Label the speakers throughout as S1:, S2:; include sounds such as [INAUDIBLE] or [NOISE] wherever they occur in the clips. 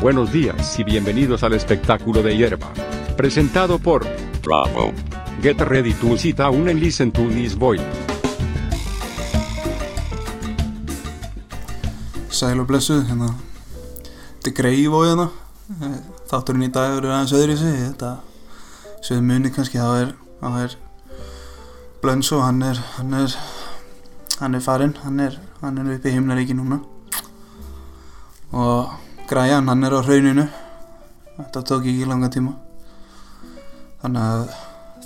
S1: Buenos días y bienvenidos al espectáculo de hierba. Presentado por
S2: Bravo.
S1: Get Ready to Cita un and Listen to This Boy.
S3: Sæl og blessuð, hérna Þetta er greif og hérna Eh, Þátturinn í dag eru aðeins öðru sig Þetta Sveðu muni kannski, það er Það er Blönso, hann er Hann er Hann er farinn, hann er Hann er upp í himnaríki núna Og Græjan, hann er á hrauninu Þetta tók ekki langa tíma Þannig að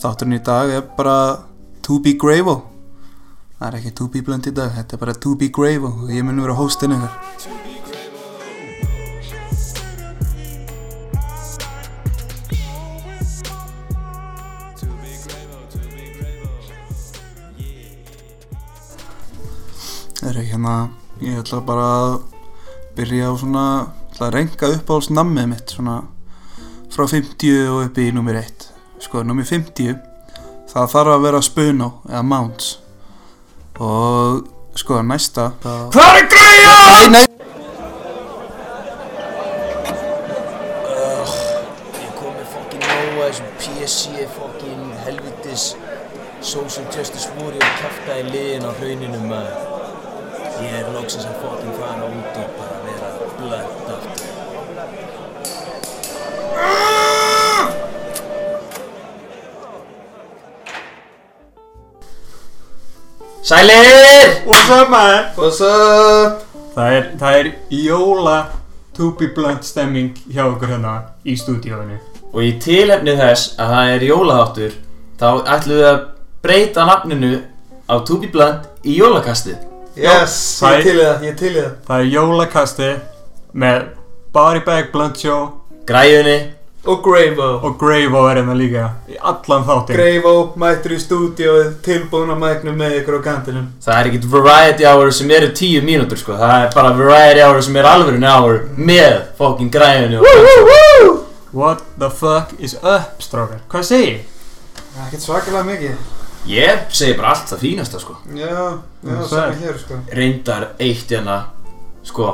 S3: Þátturinn í dag er bara To be Gravo Það er ekki To be Blönd í dag, þetta er bara To be Gravo Og ég mun vera hóstinn ykkar Það er hérna, ég ætla bara að byrja á svona, ætla að renga upp á snammið mitt svona frá 50 og upp í nummer 1. Sko, nummer 50, það þarf að vera Spuno eða Mounts. Og sko, næsta, þá...
S4: Það er
S3: Nei,
S4: greiðan!
S3: nei!
S5: Ég kom með fokkin nóa þessum PSC fokkin helvitis Social Justice Warrior kæfta í liðin á hrauninu maður Ég er loksins að fokkin fara út og bara vera blödd aftur Sælir!
S4: What's up man?
S3: What's up?
S4: Það er, það er jóla to be blunt stemming hjá okkur hérna í stúdíóinu
S6: Og í tilefni þess að það er jólaháttur þá ætlum við að breyta nafninu á Tubi Blunt í jólakastið
S4: Yes, það er,
S3: það, ég til í það.
S4: það er jólakasti með Body Bag Blunt Show
S6: Græjunni
S3: Og Gravo.
S4: og Grave á erina líka í allan þáttin
S3: Gravo mættur í stúdíóið, tilbúin að mæknum með ykkur á kantinum.
S6: Það er ekkert variety hour sem eru 10 mínútur sko Það er bara variety hour sem er alvörin hour með fokkin græjunni og Blunt Show.
S4: What the fuck is up, strákar? Hvað segir?
S3: Það er ekkert svakalega mikið.
S6: Ég segi bara allt það fínasta sko
S3: Já, já,
S4: Það er
S3: sama
S4: sætt.
S3: hér, sko.
S6: Reyndar eitt hérna sko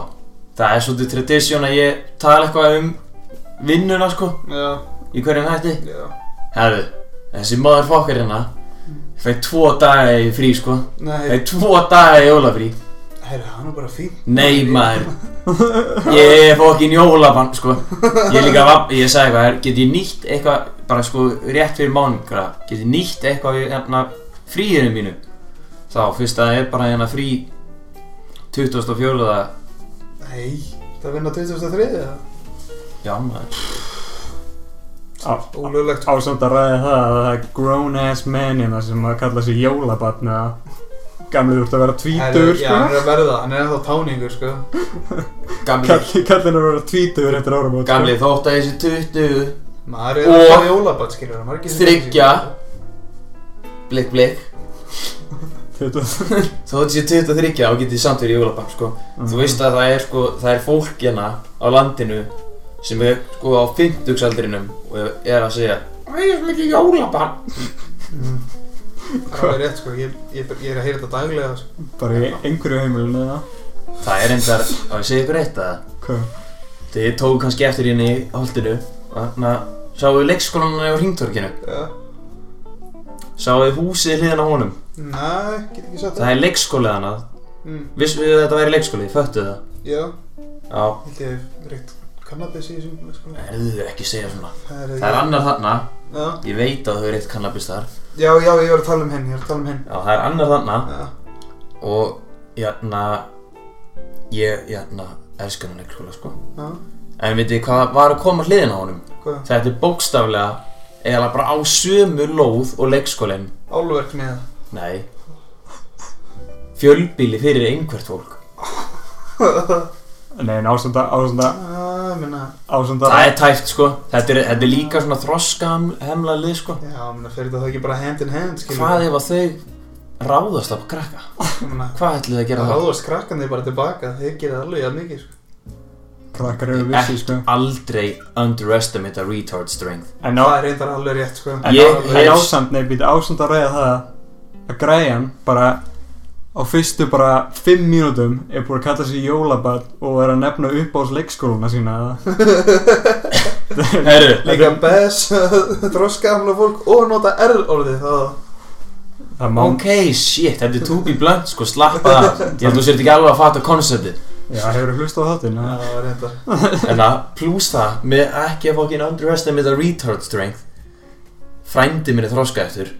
S6: Það er svolítið tradisjón að ég tala eitthvað um vinnuna sko
S3: Já,
S6: í hverjum hætti
S3: já.
S6: Herðu, þessi maður fokkar hérna Fæk tvo daga í frí sko
S3: Nei,
S6: Fæk tvo daga í jólafrí
S3: Herra, hann er bara fín
S6: Nei maður Ég er fokkin jólabann sko Ég líka var, ég sagði eitthvað her, Get ég nýtt eitthvað, bara sko rétt fyrir mánugra Get ég nýtt eitthvað í hérna fríinu mínu Þá, fyrst að það er bara hérna frí 2004
S3: Nei, það vinna 2003 eða?
S6: Já maður
S4: Á,
S3: Ólöglegt
S4: ásamt að ræða það að það er grown ass man hérna sem að kalla sig jólabatn eða gamlega úrt að vera tvítur
S3: Já, hann er að verða, hann er ennþá táningur sko
S6: Gamli,
S4: Kallin sko. kallinn er að vera tvítur eftir áramót sko.
S6: gamli þótt að þessi 20
S3: Maður er að
S6: Og-
S3: fara jólabat skilur hann margir sem
S6: Þryggja Blik blik
S4: 20.
S6: Þó þetta sé 23 og getið samt verið jólabann sko. Þú veist að það er, sko, það er fólk hérna á landinu sem er sko á 50-aldrinum og er að segja Það er svo mikið jólabann
S3: Það er rétt sko, ég, ég, ég er að heyra þetta daglega sko.
S4: Bara í einhverju heimilinu eða
S6: Það er einhver, á ég segi ykkur eitt að
S4: Hvað?
S6: þið tóku kannski eftir hérna í holdinu og þarna sáu við leikskólanuna á hringtorkinu
S3: Já
S6: sáu við húsið hliðan á honum
S3: Nei, get ekki sagt
S6: Það er leikskólið hana
S3: Mm.
S6: Vissu við að þetta væri leikskólið, föttu það
S3: Já,
S6: Já,
S3: held ég reykt kannabis í þessum sko
S6: erðu ekki segja svona
S3: Það er,
S6: Það er annar þarna,
S3: Já,
S6: ég veit að þau eru eitt kannabis þar
S3: já, já, ég var að tala um henn, ég var að tala um henn
S6: Já, það er annar þarna
S3: Já,
S6: og jæna ég jæna elskar hann leikskóla sko
S3: já,
S6: en veitir hvað var að koma hliðin á honum
S3: hvað,
S6: þetta er bókstaflega eða bara á sömu lóð og leikskólinn
S3: álverk með [LAUGHS] það
S6: nei fjölbíli fyrir einhvert fólk
S4: Nei, en ásamt að, ásamt að,
S3: Já, Ah, ég meina,
S4: ásamt að
S6: það er tæft sko þetta er, þetta er líka svona þroskahemla lið sko
S3: já, ég meina, fer þetta þá ekki bara hand in hand skilur
S6: hvað ef að þau ráðast á krakka
S3: Ég meina,
S6: hvað ætlum þau að gera
S3: Það
S6: þá
S3: ráðast krakkandi bara tilbaka, þeir gera alveg jafn mikið sko.
S4: krakkar eru vissi, sko
S6: aldrei underestimate a retard
S4: [LAUGHS]
S6: strength
S4: En,
S3: Það
S4: á,
S3: er reyndar alveg rétt sko.
S4: en,
S6: Ég-
S4: á, en
S6: ég-
S4: ásamt, nei, býta ásamt að ræða það að græjan bara á fyrstu bara 5 mínútum er búin að kalla sig jólabat og er að nefna upp á leikskóluna sína
S6: Herru,
S3: Líka bes, [LAUGHS] droska gamla fólk og nota R-orðið það.
S4: það má
S6: ok, shit, þetta er to be blunt, sko, slappa það Ég held að þú sért ekki alveg að fatta konceptið
S4: já, hefur hlust á þáttinn
S3: Já,
S4: ja.
S3: það var reyndar.
S6: En að, pluss það, með ekki að fokkin underestimate the retard strength Frændi minni þroska eftir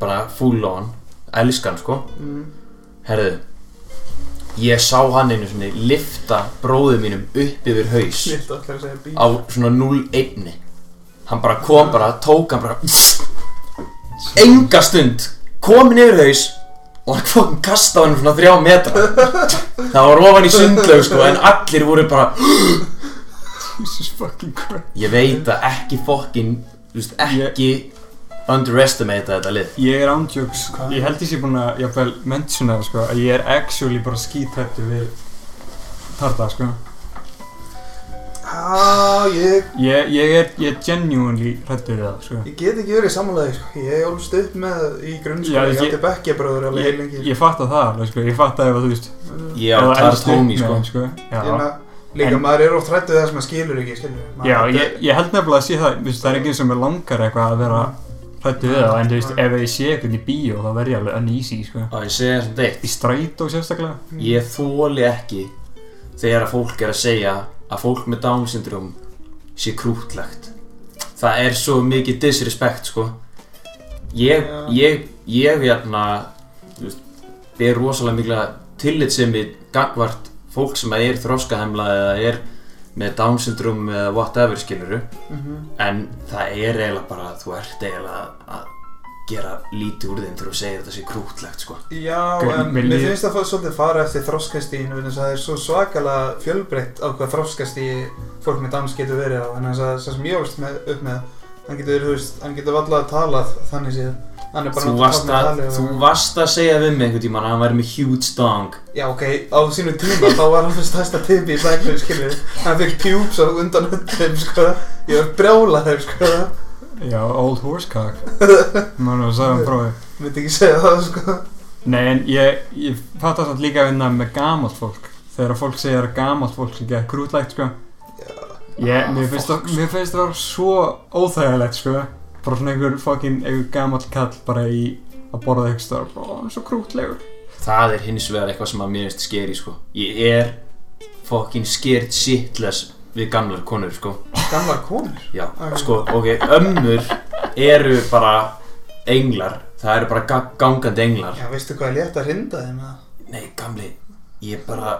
S6: Bara full on Elskan, sko
S3: Mm.
S6: Herðu Ég sá hann einu svona lifta bróðu mínum upp yfir haus
S3: Ég ætla allir að segja bíl.
S6: Á svona 0-1 Hann bara kom bara, tók hann bara Enga stund Komin yfir haus Og hann fokkin kasta hann svona þrjá metra Það var ofan í sundlaug sko En allir voru bara
S4: Jesus fucking Christ
S6: Ég veit að ekki fokkin Þú veist, ekki Underestimate þetta lið
S4: ég er ándjöks
S3: Hvað?
S4: ég held ég sé búin að jáfnvel mentiona það sko að ég er actually bara skítrættur við tarta sko
S3: Já, ég,
S4: ég, ég er ég er genuinely hrættur við það sko
S3: ég get ekki verið í samanlega, sko. Ég ólst upp með í
S4: Já,
S3: grunnskóla, ég
S4: ég-
S3: átti bekkjabröður alveg
S4: ég,
S3: lengi. sko.
S4: ég fatt að það alveg, sko, ég fatt að ef að þú veist
S6: Ég
S4: ef
S6: á
S4: þú
S6: tar
S4: elst upp
S6: tómi
S4: með
S6: sko
S4: þeim, sko.
S3: Ég
S4: Já,
S3: meina, líka
S4: En-
S3: maður er oft hrættu það sem maður skilur ekki, skilur. Maður
S4: já
S3: er-
S4: ég, ég held nefnilega að sé það þú veist, það er ekki sem er langar eitthvað að vera hrættu við það en þú veist, ef ég sé eitthvað í bíó þá verð ég alveg uneasy sko.
S6: Á ég segja þessum deitt
S4: í strætó sérstaklega
S6: Mm. Ég þóli ekki þegar að fólk er að segja að fólk með Down syndrom sé krútlegt. Það er svo mikið disrespect, sko. Ég,
S3: Já.
S6: ég, ég, hérna, þú veist, ber rosalega mikla tillitsemi gagvart fólk sem að er þroskahemla eða er með Down syndrom eða whatever, skiluru.
S3: Mhm.
S6: En það er eiginlega bara, þú ert eiginlega að gera lítið úr þeim þegar þú segir að þetta sé krútlegt, sko.
S3: Já,
S4: Gr-
S3: en
S4: vil
S3: mér
S4: ég-
S3: finnst það fóð svolítið fara eftir þroskastíðinu vegna þess að það er svo svakalega fjölbreytt á hvað þroskastíði fólk með dans getur verið á en þess að það sem ég varst með, upp með hann getur, þú veist, hann getur valla að tala þannig séð hann er bara
S6: Þú
S3: notað
S6: varst,
S3: tákn
S6: að,
S3: tali og-
S6: þú varst að segja við mig einhvern tíman að hann væri með huge dong
S3: Já, ok, á sínu tíma þá var hann fyrst stærsta tipi í blæknum, skilur hann fekk pjúps á undan öllum, sko ég var brjála þeim, sko
S4: já, old horse cock maður er að sagða um prófi
S3: myndi ekki segja það, sko
S4: nei, en ég, ég fatt að það líka að vinna með gamalt fólk þegar að fólk segir að gamalt fólk sé ekki að krútlegt sko. ég, mér finnst það mér finnst það vera svo óþægilegt sko. bara svona einhver fucking einhver gamalt kall bara í að borða eitthvað stöðar bara, ó, hann er svo krútlegur
S6: Það er hins vegar eitthvað sem að mér finnst skeri sko Ég er fucking scared shitless við gamlar konur sko
S3: gamlar konur
S6: Já, sko, ok, ömmur eru bara englar Það eru bara ga gangandi englar
S3: Já, veistu hvað er létt að hrinda þeim, eða?
S6: Nei, gamli, ég bara,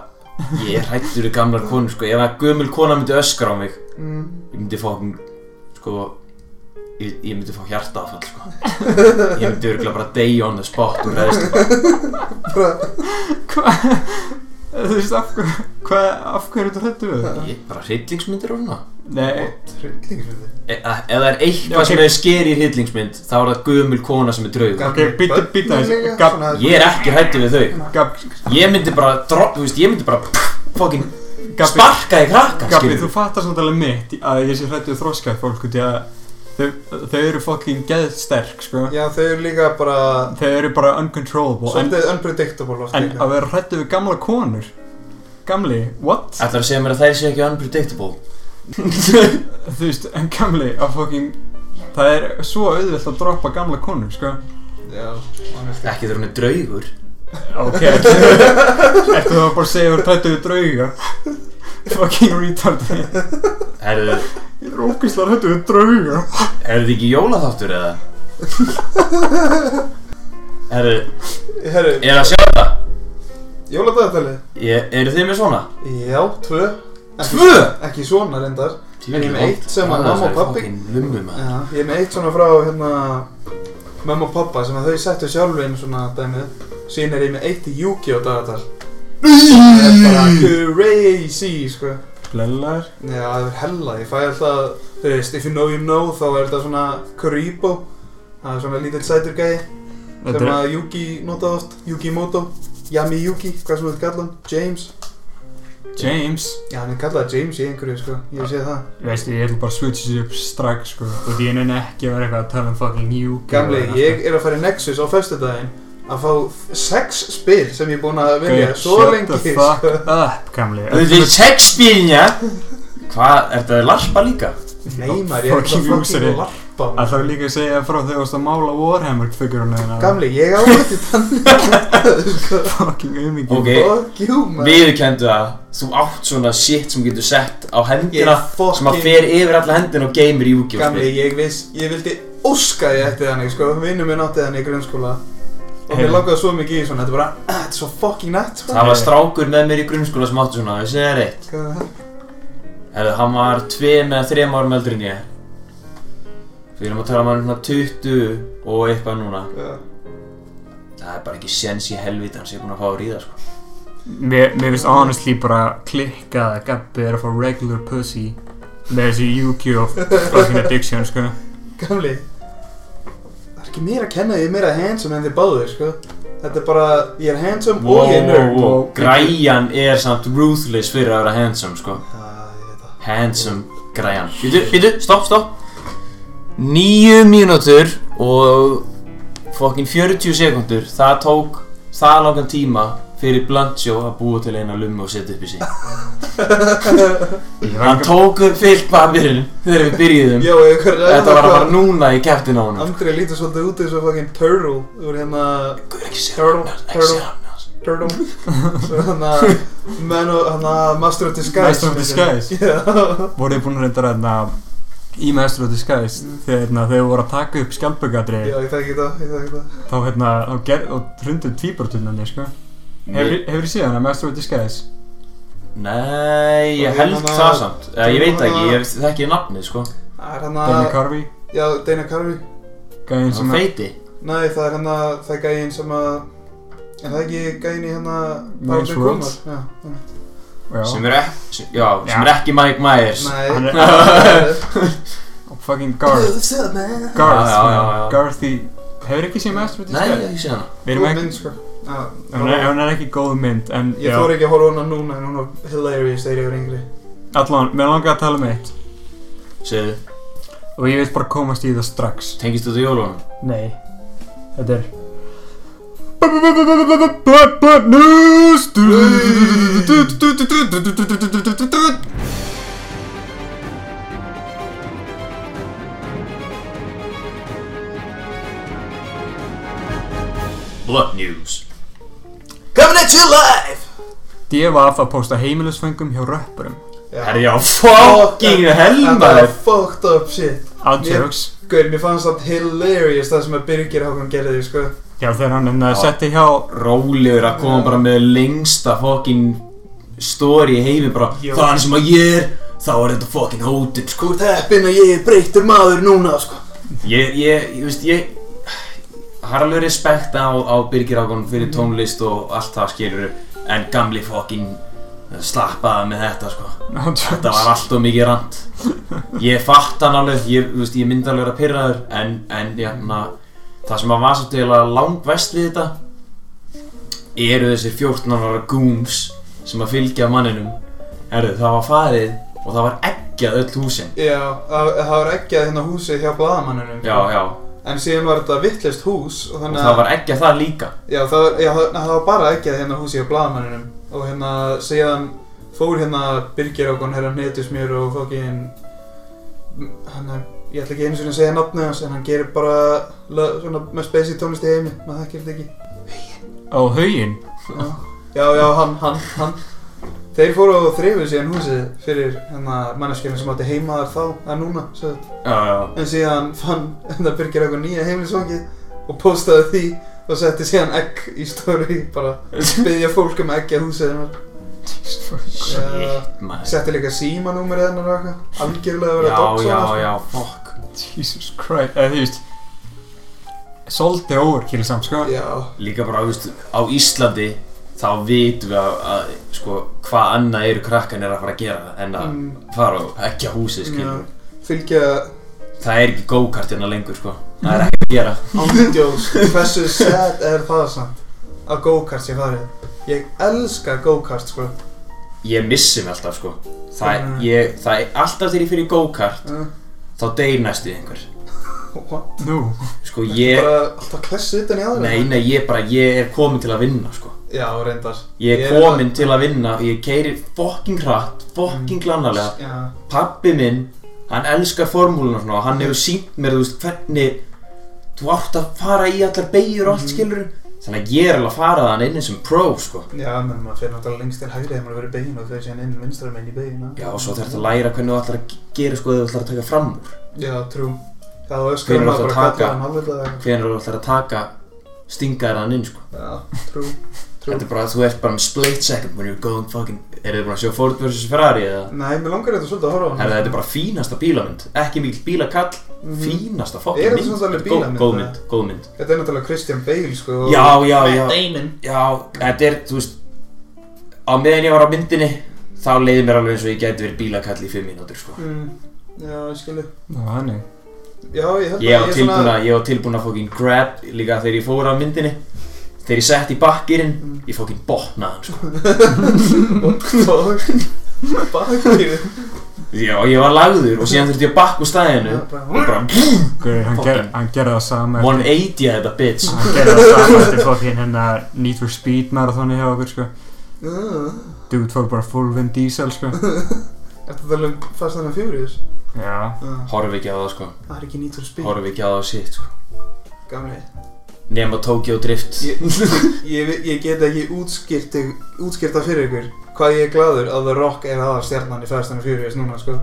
S6: ég er hættur við gamlar konur sko Ef að gömul kona myndi öskra á mig
S3: Mm.
S6: Ég myndi fucking, sko, ég, ég myndi fá hjartaafall sko Ég myndi örgulega bara day on the spot og reyðist
S4: Hvað? Þú veist, af hverju, hvað, af hverju þú hrættu við það?
S6: Ég er bara hryllingsmyndir og svona
S4: Nei,
S3: Hryllingsfjörði
S6: e Ef það er eitthvað
S4: Já, ok.
S6: sem er skeri í hryllingsmynd Þá er það gömul kona sem er draug
S4: ok, býta, býta
S3: Líka,
S4: þessu, gab,
S3: svona-
S6: Ég er ekki hættu við þau
S4: gab,
S6: Ég myndi bara, drop, þú veist, ég myndi bara Fokkin
S4: gabbi,
S6: sparka í krakka
S4: gabbi, þú fattar samt alveg mitt að ég sé hrættu við þroskað fólk út í að þau, þau eru fucking geðsterk, sko.
S3: Já, þau eru líka bara
S4: Þau eru bara uncontrollable, en,
S3: Svolítið unpredictable oft
S4: en
S3: líka
S4: að vera hrættu við gamla konur, gamli,
S3: [LAUGHS]
S4: what?
S6: Ætlar að segja mér að þær séu ekki unpredictable
S4: Þú veist, en gamli, að fucking, það er svo auðvelt að droppa gamla konur, sko.
S3: Já, honestly
S6: Ekki þegar hún er draugur
S3: [LAUGHS]
S4: Ok, ertu ertu það bara að segja að þú tættu við drauga? Fucking retard Ég
S6: Er þið
S4: er ógeðslega hættu við drauga
S6: ekki jólaþáttur eða? [LAUGHS] Er þið,
S3: Herru,
S6: er að sjá það?
S3: jóladagatali
S6: Eru þið með svona?
S3: Já, tvö Ekki-
S6: Tvö?
S3: Ekki svona reyndar En ég er með eitt sem að mamma og pabbi
S6: Fokkin lummi maður
S3: Já, ég er með eitt svona frá hérna Mamma og pappa sem að þau settu sjálfin svona dæmið Síðan er ég með eitt í Yuki á dagatal Það er bara crazy, sko
S4: Blellar
S3: Já, það er hella, ég fæ alltaf, þú veist, if you know you know, þá er þetta svona Kuribo Það er svona lítill sætur gæi
S4: Þetta
S3: sem
S4: er,
S3: að Yuki notaði oft, Yuki Moto, Yami Yuki, hvað sem þú ert kallað hann, James.
S4: James
S3: Já, hann er kallað James í einhverju, sko, ég sé það.
S4: Veistu, ég ætla bara að switcha sér upp strax sko Og því ég nenni ekki að vera eitthvað að tala um fucking you
S3: Gamli, ég er að fara í Nexus á föstudaginn að fá sex spil sem ég er búinn að vinja
S4: Gaur,
S3: svo lengi
S4: Shut the
S3: sko.
S4: fuck up, gamli
S6: Þú veit, sexbílnja Hvað, ertu að larpa líka?
S3: Nei maður, ég er ekki
S4: Fucking
S3: að
S4: lúseri.
S3: fucking larpa maður.
S4: Það þarf líka að segja frá þegar þú varst að mála Warhammer-figurinu þína.
S3: Gamli, ég
S4: [LAUGHS]
S3: á þetta þannig sko.
S4: Fucking aumingi
S6: Ok,
S3: Fuck you maður
S6: viðurkendu að þú átt svona shit sem getur sett á
S3: Ég
S6: hendina sem að fer yfir alla hendina og geymir í sko. úkjóð
S3: Gamli, ég viss, ég vildi óska ég eftir þannig sko Vinnum minn átti þannig í grunnskóla Og mér
S4: Hey.
S3: langaði svo mikið í svona, þetta er bara [CLEARS THROAT] "Ah, Þetta er svo fucking nætt sko
S6: Það var strákur með mér í grunnskóla sem átti svona, þessi er eitt Herðu, hann var tveim eða þreim árum eldri en ég Við erum að tala um hann svona 20 og eitthvað núna Það er bara ekki sens í helvita hans ég er búinn að fá að ríða sko
S4: Mér mér finnst honestly bara klikkað að Gabbi er að fá regular pussy með þessi Yu-Gi-Oh! fucking addiction, sko.
S3: Gamli Það er ekki mér að kenna, ég er meira handsome en þið báðir sko Þetta er bara, ég er handsome
S6: Wow,
S3: og ég er nörd
S6: wow, wow. Græjan er samt ruthless fyrir að vera handsome sko
S3: Ah, ég veit það.
S6: Handsome græjan Býtu, býtu, stopp, stopp Níu mínútur og fokkin 40 sekundur Það tók það langan tíma fyrir Blancho að búa til eina lummu og setja upp í sig
S4: Ég var
S6: Hann
S4: ekki-
S6: tók upp fyllt pappirinn þegar við byrjuðum
S3: Já, ég hver
S6: Þetta var bara núna í kæftin á hann
S3: Andri lítur svolítið út eins og fucking turtle Þú er hérna
S6: Ekki
S3: Turtle,
S6: segja
S3: turtle.
S6: hann [LAUGHS]
S3: Turtle Svo hérna Man og hérna Master of Disguise
S4: Master of Disguise.
S3: Já
S4: voru þið búin að reynda hérna í Master of Disguise þegar hérna, þegar þau voru að taka upp skjaldböggadri
S3: Já, ég þekki það, ég þekki það
S4: þá hérna, þá gerð, og hrundu tvíbortunnarni, sko.
S6: Mm.
S4: Hefur hefur þið séð hana, Master of Disguise?
S6: Nei, ég
S3: Og
S6: held
S3: hérna-
S6: það samt Eða, Ég veit ekki, ég þekki nafnið sko
S3: Það er
S4: Danny
S3: hérna
S4: Carvey,
S3: Já, Dana Carvey
S4: gæðin sem
S6: Hann
S4: að,
S6: feiti
S3: Nei, það er hérna Það er gæinn sem að En það er ekki gæinn í hérna
S4: Man's
S3: Paradise
S4: World.
S3: Kumar. Já, já.
S6: sem
S4: já,
S6: er ekki, já, sem
S4: Já.
S6: er ekki Mike Myers
S4: Hann
S3: Nei
S4: er- fucking Garth,
S3: What's up, man?
S4: Garth,
S6: Já, já, já, já.
S4: Garthi, hefur ekki séð Master of
S6: Nei, ég hef
S4: Disguise?
S6: ekki séð hana
S4: Við
S3: Góð
S4: erum ekki,
S3: mynd, sko. Já,
S4: hún er, hún er ekki góð mynd, en
S3: Ég þóri ekki að horfa á hana núna en hún var hilarious þegar ég var yngri
S4: allan, mér langar að tala um eitt
S6: Segðu,
S4: og ég vil bara komast í það strax.
S6: tengist þetta jólunum?
S4: Nei, þetta er Black Black News
S6: Blood News
S3: Coming at you live!
S4: D.V.A.F. að posta heimilisfengum hjá röppurum
S6: Herri, já, fucking
S3: Þetta
S6: helmaður
S3: var fucked up shit
S4: Outjokes
S3: Guður, mér fannst það hilarious það sem að Birgir Hákon gerði sko
S4: Já þegar hann enna
S6: Já.
S4: setti hjá
S6: Rólegur að koma bara með lengsta fucking story í heimi bara
S3: Jó.
S6: Það er hann sem að ég er, þá er þetta fucking hótið sko
S3: Teppin að ég er breyttur maður núna sko
S6: Ég, ég, ég veist, ég Það er alveg respekt á, á Birgir Ákon fyrir tónlist og allt það skilur En gamli fucking slappaði með þetta sko Þetta var
S4: Outjokes
S6: allt og mikið rand Ég fatt hann alveg, ég, þú veist, ég myndi alveg vera pyrraður En, en, jæna, það sem að var samt eiginlega langvest við þetta Eru þessir 14 ára goons sem að fylgja manninum Herðu, það var farið og það var eggjað öll húsin
S3: Já, það það var ekki að hérna húsið hjá blaðamanninu
S6: Já, já,
S3: En síðan var þetta vittlist hús og
S6: og
S3: þannig
S6: það var eggjað það líka
S3: Já, það var, já, það, það var bara ekki að hérna húsið hjá blaðamanninum og hérna síðan fór hérna Birgir Ákon hérna hnetusmjör og fokkin hann er, ég ætla ekki einu sinni að segja nafnið hans en hann gerir bara lög, svona með spacey tónlist í heimi, maður þekkir þetta ekki
S4: Á hauginn
S3: Já, já, já hann, hann, hann Þeir fóru og þrifu síðan húsið fyrir hérna manneskjörnum sem átti heima þar þá að núna, svo
S6: Já, já,
S3: en síðan fann [LAUGHS] hérna Birgir Ákon nýja heimilisvangið og postaði því og setti síðan egg í stóri bara byggja fólk um ekki að húsið hennar Eh,
S6: maður
S3: setti líka símanúmer hennar og eitthvað algjörlega verið að
S6: Já,
S3: doxa
S6: já,
S3: hana, sko.
S6: já, fuck
S4: Jesus Christ Eða þú veist Soldi óverkilsamt sko
S3: sko. já,
S6: Líka bara, þú veist, á Íslandi þá vitum við að, að sko, hvað annað eru krakkan er að fara að gera en að
S3: Mm.
S6: fara og ekki á húsið, skilur
S3: já fylgja
S6: Það er ekki go-kartina lengur, sko Það er ekki að gera
S3: ándjós hversu sad er það samt að go-kart sé farið ég elska go-kart sko
S6: Ég missi mig alltaf, sko Það,
S3: Mm.
S6: ég, það er alltaf þegar ég fyrir go-kart
S3: Mm.
S6: þá deyr næstu einhver
S3: What?
S4: Nú,
S6: Sko ég
S3: Bara alltaf klessu utan í aðra
S6: Nei, nei, ég bara, ég er komin til að vinna, sko
S3: Já, reyndar
S6: Ég er komin til að vinna Ég keiri fokking hratt, fokking glannalega
S3: Já,
S6: Pappi minn, hann elskar formúluna og svona og Hann hefur sínt mér, þú veist, hvernig Þú átt að fara í allar beigur og allt, skilur Þannig að ég er alveg að fara þann inn sem pro, sko
S3: já, menn maður fyrir náttúrulega lengst til hægri þegar maður verið begin og þau séðan inn vinstra megin í begin
S6: Já, og svo þarf þetta að læra hvernig þú ætlar að gera, sko, þegar þú ætlar að taka fram úr
S3: Já, trú Já, það er
S6: Hvenær
S3: skrömmar
S6: áttu að
S3: bara
S6: taka?
S3: kallar hann alveg
S6: Hvernig þú ætlar að taka stingar hann inn, sko
S3: Já, trú Trú
S6: Þetta er bara, þú ert bara um split second when you're going fucking Eru þið búin að sjá Ford vs. Ferrari eða?
S3: Nei, mér langar þetta svolítið að horfa á hann
S6: Herra, þetta er bara fínasta bílamynd Ekki mikill bílakall,
S3: Mhm.
S6: fínasta
S3: Er
S6: fokkin
S3: þetta
S6: mynd
S3: svona alveg
S6: Þetta er góð-
S3: bílamynd,
S6: Góð
S3: eða?
S6: mynd, góð mynd
S3: Þetta er náttúrulega Christian Bale, sko og-
S6: Já, já, já,
S3: Damon
S6: já Þetta er, þú veist Á meðan ég var á myndinni Þá leiði mér alveg eins og ég gæti verið bílakall í 5 mínútur sko.
S3: Mm, Já, ég skilu
S4: það var hannig
S3: Já, ég held
S6: Ég var
S3: er
S6: tilbúin að, ég var tilbúin að fokkin grab Líka þegar ég fór á myndinni Þegar ég sett í bakkirinn
S3: Mhm.
S6: Ég fokkin botnaði hann sko.
S3: [LAUGHS] Bakið
S6: [LAUGHS] Já, ég var lagður og síðan þurfti ég að bakka úr stæðinu Og bara
S4: Guður, hann, ger,
S6: Fucking-
S4: hann gerði það sama eftir-
S6: 180 að þetta bitch
S4: Hann gerði það sama eftir fokkin hennar Need for Speed marathoni hjá okkur sko Dude fór bara full Vin Diesel sko
S3: Mm. [LAUGHS] Ertu að tala um Fast and Furious?
S4: Já
S3: Já.
S6: Horf ekki á það sko,
S3: Það er ekki nýtt fyrir spil
S6: horf ekki á það sitt sko
S3: Gamli
S6: Nefn að Tokyo Drift
S3: Ég, ég, ég get ekki útskýrt útskýrta fyrir ykkur hvað ég er gladur að The Rock er aðal stjarnan í Fast and Furious núna sko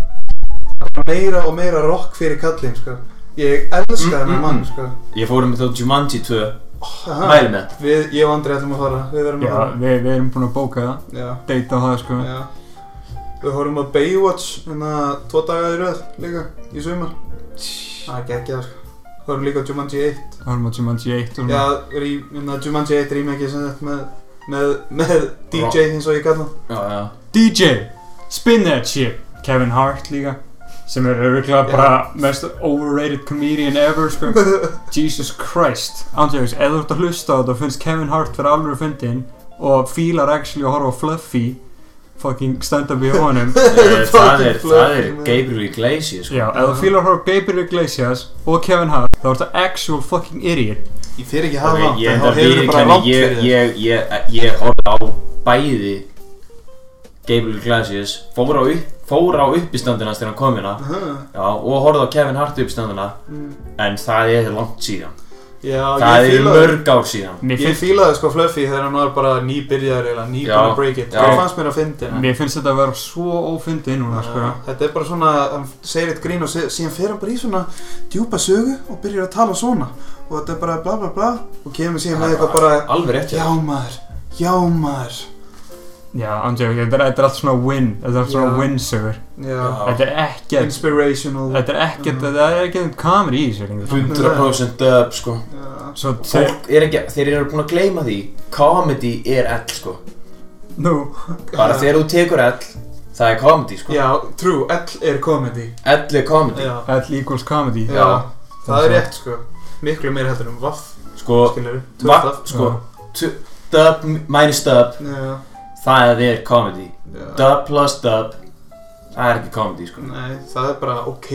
S3: Bara meira og meira rock fyrir kallinn sko ég elska
S6: Mm,
S3: þennan
S6: mm,
S3: mann
S6: mm.
S3: sko
S6: Ég fór um þetta á Jumanji 2
S3: Aha.
S6: Mæli með
S3: við, ég og Andri ætlum að fara við verðum að
S4: Já,
S3: fara
S4: við, við erum búin að bóka það
S3: já,
S4: Deita á það sko
S3: já. við horfum að Baywatch hérna tvo daga í röð líka í sumar það er geggjað sko horfum líka á Jumanji 1
S4: Það vorum á Jumanji 1 og
S3: já,
S4: svona
S3: rí, hérna, Jumanji 1 rýmækið sem þetta með, með, með DJ eins og ég kalla hann
S6: Já, já
S3: [LAUGHS]
S4: DJ Spin that shit Kevin Hart líka Sem er auðvitað
S3: Já.
S4: bara mest overrated comedian ever sko
S3: [LAUGHS]
S4: Jesus Christ Andrjóks, ef þú ert að hlusta á þetta og finnst Kevin Hart fyrir alveg fyndin og fílar actually að horfa á Fluffy fucking stand-up í
S3: [LAUGHS]
S4: honum
S6: Eh, Það er,
S3: Fucking
S6: það er
S3: flirting, man.
S6: Gabriel Iglesias sko
S4: Já, ef þú fílar að horfa á Gabriel Iglesias og Kevin Hart þá ert það actual fucking idiot
S3: Ég fyrir ekki að hafa
S6: Ok,
S3: langt,
S6: Ég
S3: en
S6: enda
S3: þá hefur þú bara
S6: viðurkenni,
S3: langt
S6: ég,
S3: fyrir þér.
S6: ég, ég, ég horfði á bæði Gabriel Iglesias Fór á, upp, fór á uppistandina þegar hann kom hérna
S3: Aha,
S6: Já, og horfði á Kevin Hart uppistandina
S3: mm.
S6: En það er langt síðan
S3: Já, ég
S6: Það er
S3: fílaði,
S6: mörg ár síðan
S4: Mér
S3: ég
S4: finnst,
S3: fílaði sko Fluffy þegar hann var bara nýbyrjar eða ný
S6: Já,
S3: bara að break it.
S6: já.
S3: Það fannst mér að fyndi hann.
S4: mér finnst þetta að vera svo ófyndin núna sko
S3: Þetta er bara svona, hann segir eitt grín og se- síðan fer hann bara í svona djúpa sögu og byrjar að tala svona. Og þetta er bara bla bla bla og kemur síðan með eitthvað bara,
S6: Alveg rétt hjá
S3: já
S6: þér.
S3: maður, já maður.
S4: Já, Andrjóks, þetta er þetta er allt svona win Þetta er allt svona
S3: Já.
S4: win-sögur
S3: Já,
S6: Já
S4: Þetta er ekkert
S3: inspirational.
S4: Þetta er ekkert, þetta er ekkert kamer í þessu lengur.
S6: 100% dub sko
S3: Já,
S4: Svo þeir,
S6: Fólk er ekki, þeir eru búin að gleyma því Comedy er ell sko
S4: nú,
S6: Bara þegar þú tekur ell Það er comedy sko
S3: já, true, L er comedy.
S6: Ell er comedy
S3: Já,
S4: all equals comedy
S3: já, það er
S4: Svo-
S3: rétt sko. Miklu meira heldur um vaff,
S6: Sko,
S3: skilur við.
S6: va, sko tu- Dub minus dub
S3: Já,
S6: Það er comedy
S3: já.
S6: Dub plus dub Það er ekki comedy sko
S3: Nei, það er bara ok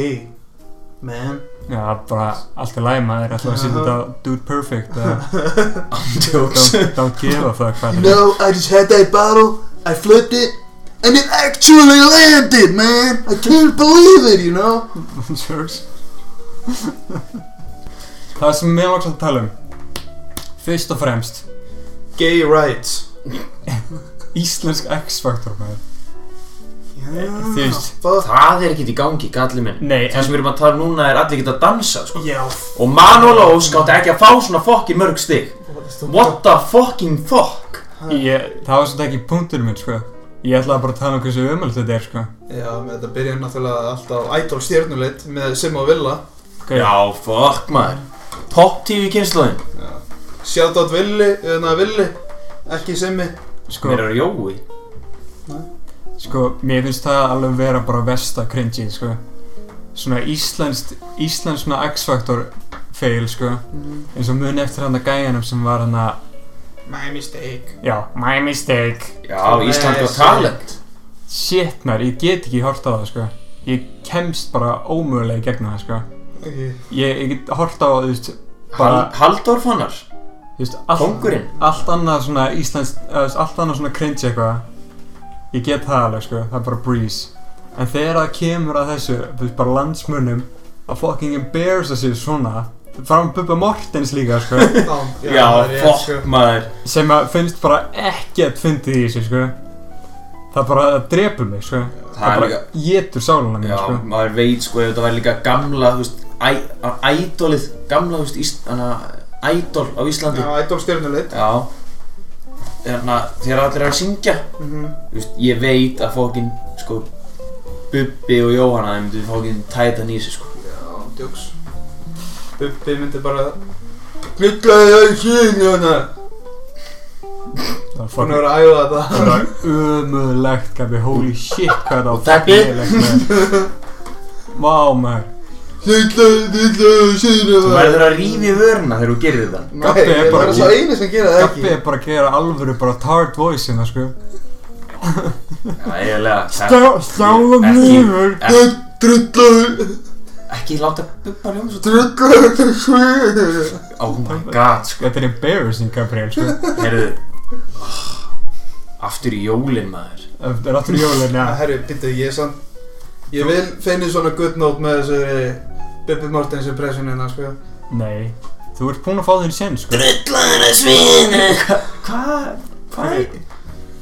S3: Man
S4: Já, bara allt er læg maður, alltaf að sýta þetta á Dude Perfect eða
S3: [LAUGHS]
S6: Jokes
S4: don't, don't give a fuck hvað [LAUGHS] þetta er.
S3: No, I just had that bottle I flipped it And it actually landed, man I can't believe it, you know
S4: Jokes. Það sem mér langs að tala um Fyrst og fremst
S3: Gay rights
S4: Íslensk X-Factor maður
S3: Já,
S4: Þú veist.
S3: fuck
S6: Það er ekkert í gangi, galli minn
S4: Nei,
S6: Það sem við erum að tala um núna er allir geta að dansa sko
S3: Já,
S6: Og Manuel Ósk átti ekki að fá svona fokkin mörg stig What the fucking fuck
S4: ég, það var svolítið ekki punktur minn sko Ég ætlaði bara að tala um hversu umöld þetta er sko
S3: Já, með þetta byrjaði náttúrulega alltaf á Idol stjörnuleitt með Simma og Villa
S4: okay.
S6: Já, fuck maður Pop TV kynnslóðin
S3: Shoutout Villi, eða Villi Ekki Simmi
S4: sko,
S6: Mér er Jói
S4: sko, mér finnst það alveg vera bara vesta cringy sko Svona íslenskt, íslenskt svona X-Factor fail sko eins og muni eftir hann að gæjanum sem var hann að
S3: My mistake
S4: Já, my mistake
S6: Já,
S3: Nei,
S6: Ísland og
S3: sorry.
S6: talent
S4: Shit mér, ég get ekki hort á það sko Ég kemst bara ómögulega í gegna það sko
S3: ekki
S4: Ég, ég get hort á, þú veist, bara,
S6: Hal, Halldór Fannar
S4: þú veist, allt,
S6: Kóngurinn
S4: allt annað svona íslensk, eða, þú veist, allt annað svona cringe eitthvað Ég get það alveg, sko, það er bara breeze En þegar það kemur að þessu, þú veist, bara landsmunum að fucking embarrassa sig svona Fram Bubba Mortens líka, sko
S6: [LAUGHS]
S3: Já,
S6: Já,
S3: það er rétt, sko.
S6: fokk maður
S4: sem að finnst bara ekkert fyndið í þessu sko það bara það drepur mig sko
S6: Það er
S4: bara
S6: líka
S4: getur sáluna mín
S6: Já,
S4: sko
S6: maður veit sko ef þetta var líka gamla, þú veist, æ, ædolið, gamla, þú veist, íst, hana, ædol á Íslandi
S3: Já, ædol stjörnuleitt
S6: Já Þannig að þegar allir er að syngja
S3: Mhm.
S6: Þú veist, ég veit að fókin sko Bubbi og Jóhanna þeim myndu fókin tætan í sig sko
S3: Já, djóks Bubbi myndi bara Gnutlaði það í síðan hana
S4: það er
S3: Hún
S4: fucking-
S3: er að æfa þetta
S4: það er umöðulegt gabbi holy shit hvað
S6: Og
S4: þetta á
S6: þegli. [LAUGHS]
S4: má sko. maður
S3: Gnutlaði, gnutlaði það í síðan
S6: Þú verður að rífi vörna þegar þú gerir þetta
S3: Nei,
S4: Gabbi er
S3: ég er
S4: bara-
S3: bara svo eini sem gera það
S4: gabbi
S3: ekki
S4: er bara að gera alvöru bara tard voice hérna sko
S6: Já, eiginlega það-
S4: Stá- stála
S6: Ekki-
S4: nýfur
S6: ek-
S3: Drullaði,
S6: Ekki láta Bubba ljóma svo
S3: drullaði það í síðan [LAUGHS]
S6: Oh my god sko
S4: þetta er embarrassing Gabriel sko
S6: Herðu Aftur í jólin maður
S4: það er aftur jólun
S3: Já,
S4: já
S3: herru, býttu, Ah, ég er sann Ég vil finna svona good note með þessu Bubbi Mortens impression hérna, sko
S4: nei þú ert búinn að fá þér sen sko
S6: Drullaður að svinu Hvað? Hvað?
S4: Ok.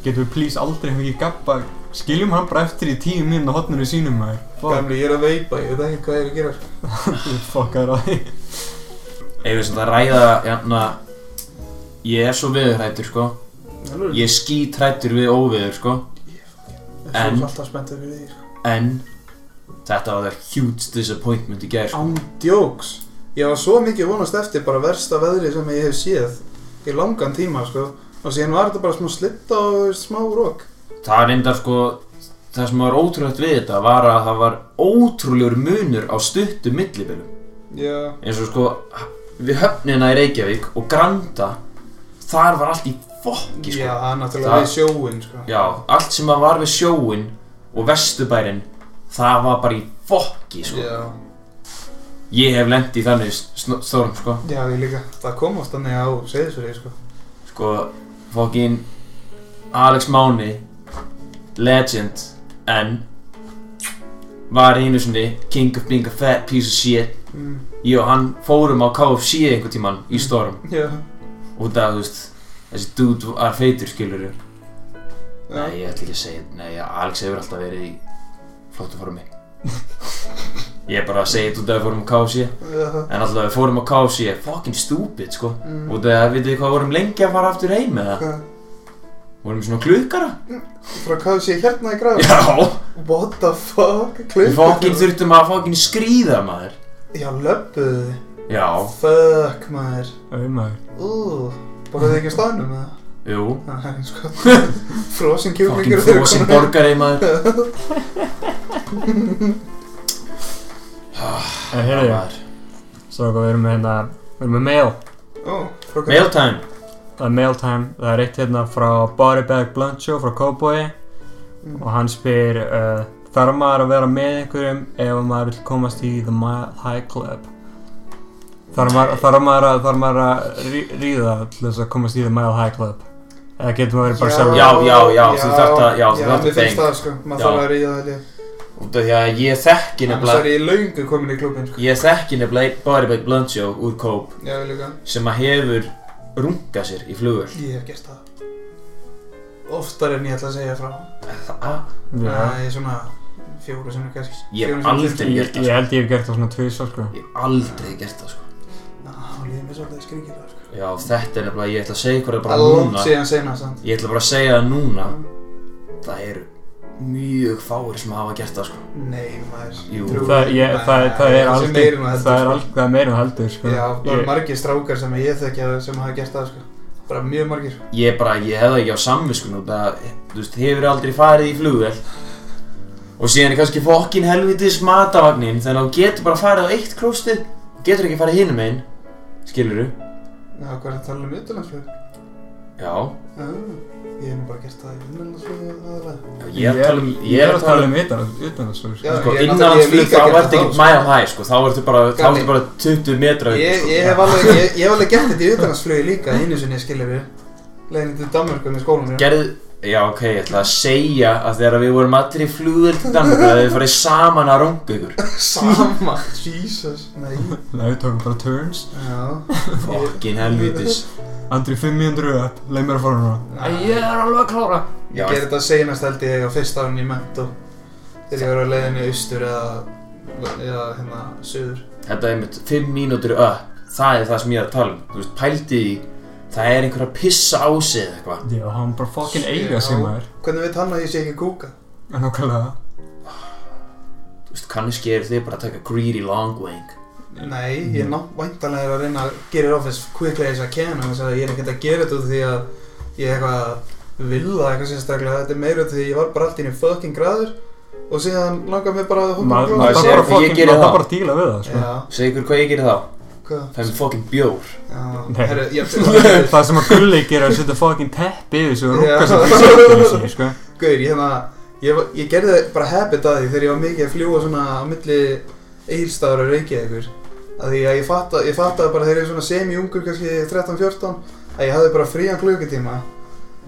S4: getur við please aldrei hefði ekki gabba skiljum hann bara eftir í tíu mínum og hotnur í sínum maður fuck
S3: Gamli, ég er að veipa, ég veit ekki hvað ég er að gera sko.
S4: þú fuckar að því
S6: Eigum við sem það ræða jafna Ég er svo veðurhættur sko Ég er skítrættur við óveður sko
S3: Ég er
S6: en-
S3: svo alltaf spenntið fyrir því sko.
S6: En Þetta var það huge disappointment í gær sko.
S3: Án djóks Ég var svo mikið vonast eftir bara versta veðri sem ég hef séð Í langan tíma, sko Og síðan var þetta bara smá slitta og þú veist, smá rók
S6: Það er enda sko Það sem var ótrúlegt við þetta var að það var ótrúlegur munur á stuttum millibilum
S3: Já
S6: eins og sko við höfnina í Reykjavík og Granda þar var allt í fokki sko
S3: Já, náttúrulega
S6: Það-
S3: við sjóin, sko
S6: Já, allt sem að var við sjóin og vesturbærin það var bara í fokki sko
S3: Já,
S6: Ég hef lent í þannig sn- storm sko
S3: Já, ég líka Það kom oft þannig á Seyðisverið, sko
S6: Sko, fokkin Alex Máni Legend En Var einu sinni King of being a fat piece of shit
S3: mm.
S6: Ég og hann fórum á KFC einhvern tímann Í Storm
S3: Já
S6: Út af þú veist Þessi dude var feitur skilur
S3: Já.
S6: Nei, ég ætla ekki að segja Nei, Alex hefur alltaf verið í Flóttu formi Ég er bara að segja þetta út af við fórum á KFC
S3: Já.
S6: En alltaf við fórum á KFC Fucking stupid sko
S3: Mm.
S6: Út af, vitið þið hvað, við vorum lengi að fara aftur heim eða
S3: Hvað?
S6: Vorum svona klukkara
S3: Frá hvað sé hérna í graf?
S6: Já
S3: What the fuck?
S6: Við
S3: Klukkan-
S6: fokkin þurftum að fokkin skríða maður
S3: Já, löppuðu þið.
S6: Já
S3: Fuck, maður.
S4: Æ, maður.
S3: Ú, borðuðu ekki á staðnum eða?
S6: Jú
S3: Það er eins
S6: [LAUGHS]
S3: og frosin
S6: Fokkin
S3: kjúklingur þegar
S6: frosin
S3: komin heim.
S6: borgari maður
S4: en heyrðu ég svo hvað við erum með hérna við erum með mail
S3: Ó, frá hvað?
S6: Mail time
S4: það er mail time það er eitt hérna frá Bodybag Blancho frá Cowboy
S3: Mm.
S4: og hann spyr uh, þarf maður að vera með einhverjum ef maður vil komast í The Mile High Club þarf maður, þarf maður að, þarf maður að rí, ríða til þess að komast í The Mile High Club eða getur maður bara sjálf
S6: Já, já, já, þú þarft að- já, þú þarft að
S3: mér finnst
S6: bang.
S3: það, sko. Maður
S6: Já.
S3: þarf að ríða það, ég.
S6: Út af því að ég þekki
S3: Annars er
S6: nefnilega
S3: ég laungu komin í klubin, sko.
S6: Ég þekki nefnilega einn body bag bluncho úr kóp
S3: Já, ég líka.
S6: Sem að hefur rungað sér í flugur
S3: Ég hef gert það. Oftar en ég ætla að segja frá.
S4: Já.
S3: Nei, svona fjóru sem er kannski.
S6: Ég hef
S3: fjórum sinnum
S6: aldrei-
S3: fimm.
S4: Ég, ég held ég hef gert það sko. svona tvís sko.
S6: Ég hef aldrei gert það sko
S3: Ná, líður mér svolítið skringilega, sko.
S6: Já, þetta er nefnilega, ég ætla að segja ykkur það bara
S3: Allt
S6: núna
S3: síðan senast, sant?
S6: Ég ætla bara að segja það núna Það eru mjög fáir sem hafa gert það sko
S3: Nei, maður.
S6: Jú.
S3: Trúi
S4: það, ég,
S3: mér,
S4: það,
S3: maður.
S4: það er
S3: Þessi meira en heldur, sko.
S4: aldrei það er aldrei það er meira en heldur sko.
S3: Já, það eru
S4: ég,
S3: margir strákar sem ég þekki að sem hafa gert það, sko. Bara mjög margir.
S6: Ég bara, ég hefði ekki á samviskun út að, þú veist, hefur aldrei farið í flugvel Og síðan er kannski fokkin helvitis matavagnin Þannig að þú getur bara farið á eitt klóstið Getur ekki farið hinum einn Skilurðu?
S3: Já, hvað er það að tala um utanlandsflug?
S6: Já,
S3: Ég hef nú bara gert það í innanlandsflugi aðalega.
S6: ég er að tala um,
S4: Ég er að tala um utan, utan þessu sko.
S3: Já, um-
S6: Sko,
S3: ég er náttúrulega- ég
S6: innanlandsflug,
S3: hef líka
S6: þá
S3: gert
S6: ertu
S3: það
S6: ekki
S3: þá,
S6: mæja hæ, sko, þá ertu bara, þá
S3: um- Gamli.
S6: ertu bara 20 metra upp,
S3: Ég,
S6: sko.
S3: ég hef alveg, ég, ég hef alveg gert þetta í utanlandsflugi líka einu sinni ég skilja við. Leiðin til Danmörku með skólanum.
S6: Gerð, já, ok, ég ætla að segja að þegar við vorum allir í flugvel til Danmark, að við farið saman að runga
S3: [LAUGHS]
S6: ykkur.
S3: Sama. Jesus. Nei.
S4: Nei, við tókum bara turns
S3: Já.
S6: Fokkin helvitis.
S4: Andri 500 upp, leið mér að fara núna
S3: Æ,
S6: er alveg að klára.
S3: Ég
S6: Já,
S3: gerði þetta senast held ég á fyrsta árun í mentó þegar ég var á leiðinni austur eða, eða hérna söður.
S6: þetta er mitt 5 mínútur upp, það er það sem ég er að tala um. Þú veist, pældi í, það er einhver að pissa á sig eða eitthvað.
S4: Já, hann bara fokkin eiga sig
S3: Já.
S4: maður
S3: Hvernig veit hann að ég sé ekki að kúka?
S4: En okkarlega
S6: Þú veist, kannski eru þið bara að taka greedy long wing.
S3: Nei, ég er væntanlega er að reyna að gera it off as quickly as I can en þess að ég er ekkert að gera þetta út af því að ég er eitthvað að vilja eitthvað sérstaklega þetta er meira út af því að ég var bara allt í henni fucking græður og síðan langar mér bara að hoppa
S4: Maður
S3: um
S4: maður
S6: Maður
S4: þarf
S6: sér
S4: bara
S6: hvað ég
S4: fokkin,
S6: geri
S4: maður
S6: þá.
S4: þarf bara að díla við það sko.
S3: Já,
S6: Segðu ykkur hvað ég gerir þá.
S3: hvað?
S6: Það er mér fokkin bjór.
S3: Já,
S4: Nei.
S3: herru,
S4: [LAUGHS]
S3: ég
S4: Það sem að gulli gera er að setja fokkin teppi yfir sig og
S3: Já.
S4: rúka sem fyrir setjum sig, sko
S3: Gauður, ég, hérna, ég, var- ég gerði bara habit að því þegar ég var mikið að fljúa svona á milli eilstaður og Reykjavíkur að því að ég fattaði ég fattaði bara þegar ég var svona semi-ungur kannski 13-14 að ég hafði bara frían klukkutíma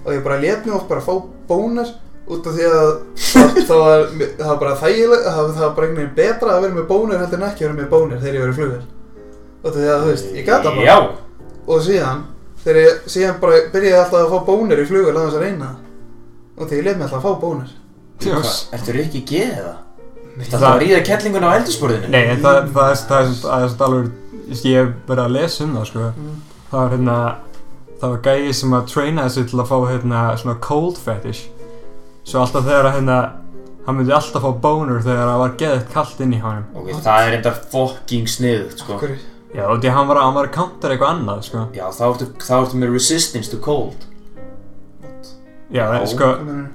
S3: og ég bara let mig oft bara fá bónar út af því að það, það, var, það var bara þægileg það, var- það var bara einhvern veginn betra að vera með bónar heldur en ekki að vera með bónar þegar ég var í flugur út af því að þú veist, ég gata bara
S6: Já,
S3: og síðan þegar ég síðan bara byrjaði ég alltaf að fá bónir í flugur að þess að reyna það og þegar ég lef mig alltaf að fá bónir
S4: Djós.
S6: Hvað, Ertu Rikki G eða?
S3: Nei.
S6: Það þarf að ríða kettlingun á eldursporðinu
S4: Nei, en það, það, er, það, er, samt- það er samt alveg, ég sé, ég hef bara að lesa um það, sko.
S3: Mm.
S4: Það var hérna, það var gæi sem að traina þessu til að fá hérna svona cold fetish. Svo alltaf þegar að hérna, hann myndi alltaf fá boner þegar það var geðið kallt inn í honum.
S6: Ok, það er enda fucking sniðugt sko
S3: Hverju?
S4: Já, og því að hann var, hann var að counter eitthvað annað, sko.
S6: Já, þá ertu, þá ertu með resistance to cold
S4: Já,
S6: Já.
S4: en sko,
S3: Hvað meinarðu?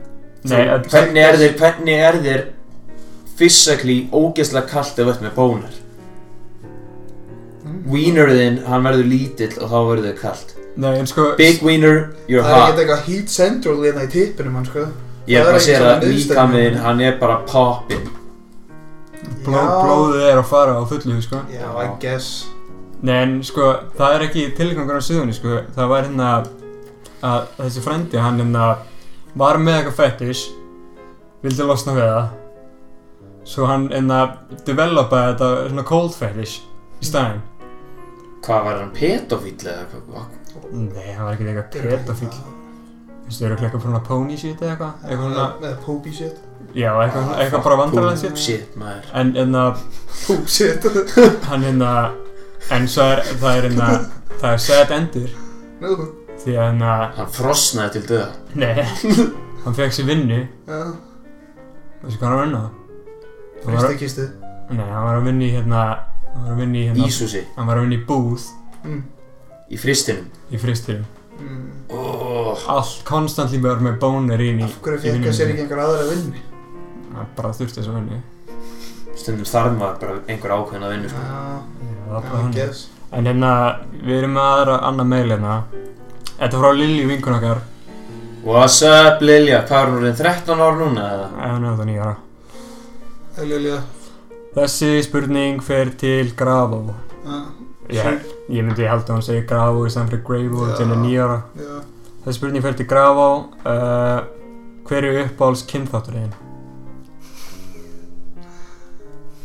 S4: nei, en,
S6: Hvernig er þér, hvernig er þér physically ógeðslega kallt ef þú ert með bónar?
S3: Hmm?
S6: Wiener þinn, hann verður lítill og þá verður þér kallt
S4: nei, en sko,
S6: Big wiener, you're
S3: Það er
S6: hot
S3: ekkert eitthvað heat central hérna í tippinum hann sko
S6: Ég er
S3: það er
S6: bara að
S3: ekki
S6: segja
S3: svona
S6: að
S3: miðstefnu.
S6: líkamiðinn, hann er bara poppin
S4: bló, blóðið er að fara á fullu, sko.
S3: Já, já, I guess
S4: Nei, en sko, það er ekki tilgangur á síðunni, sko. Það var hérna að þessi frendi, hann hérna var með eitthvað fetish, vildi losna við það. Svo hann hérna developaði þetta svona cold fetish í staðinn.
S6: Hvað var hann, pedofíll eða hvað?
S4: Nei, hann var ekki eitthvað pedofíll. Þú veist, þau eru eitthvað svona pony shit eða eitthvað. Eitthvað svona,
S3: Eða poopy shit
S4: já, eitthvað, eitthvað bara vandrarlega
S6: Poop
S4: shit.
S6: shit, maður
S4: En hérna,
S3: Poop shit [LAUGHS]
S4: hann hérna, en svo er, það er hérna, það er sad endur.
S3: Nú,
S4: Því að hérna,
S6: Hann frosnaði til döða
S4: nei, [LAUGHS] hann fekk sér vinnu
S3: já,
S4: Veistu hvað hann var að vinna? Hann var,
S3: fristakistu
S4: nei, hann var að vinna í hérna, hann var að vinna í hérna,
S6: Ísúsi,
S4: hann var að vinna í búð
S3: mm.
S6: í fristinum
S4: í fristirum.
S3: mm.
S6: oh.
S4: Allt konstantli bara með bónir inn í,
S3: Af hverju
S4: í
S3: fekk að sér ekki einhver aðra vinni?
S4: Hann bara þurfti þess að vinna.
S6: stundum þarf maður bara einhver ákveðin að vinna sko.
S3: Já,
S4: Það var bara
S3: I
S4: hann.
S3: guess
S4: En hérna, við erum með aðra annað meil hérna. Þetta er frá Lilju vinkun okkar,
S6: What's up Lilja, hvað er hún orðin 13 ár núna eða?
S4: ef hann er þetta nýjara.
S3: Heljulega
S4: Þessi spurning fer til Gravo. Ég, ég myndi halda að hann segi Gravo í stæðan fyrir Gravo,
S3: Já.
S4: þetta er nýjara.
S3: Já,
S4: Þessi spurning fer til Gravo. Uh, hver er uppáhalds kynþátturinn?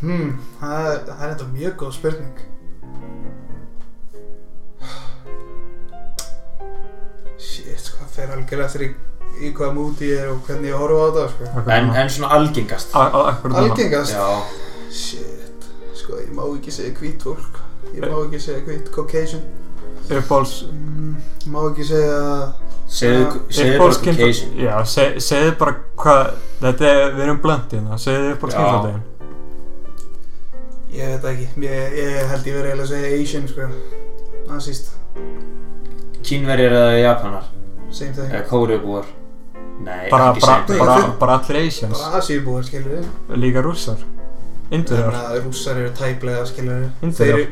S3: Hmm, það er, það er enda mjög góð spurning Shit, sko, það fer algjörlega eftir í, í hvaða múti ég er og hvernig ég horfa á þetta, sko
S6: En, en svona algengast
S4: Akkur núna
S3: Algengast
S6: Já,
S3: Shit, sko, ég má ekki segja hvít fólk Ég má ekki segja hvít Caucasian
S4: Uppbóls
S3: mm, Má ekki segja
S6: segðu segðu bara
S4: Uppbóls
S6: Caucasian
S4: Já, seg, segðu bara hvað Þetta er, við erum blöndið hérna Segðu uppbóls
S6: Já.
S4: kynþáttin
S3: Ég veit það ekki, ég, ég held ég verið eiginlega að segja Asian, sko Nasist,
S6: Kínverjar eða Japanar
S3: same thing
S6: eða Kóreubúar Nei,
S4: bara,
S6: ekki
S4: bara,
S6: segja
S4: bara, bara allir Asians
S3: Bara Asíubúar, skilur við
S4: Líka rússar Indurjar
S6: Hérna-
S3: Þannig að rússar eru tæplega, skilur við
S4: Indverjar.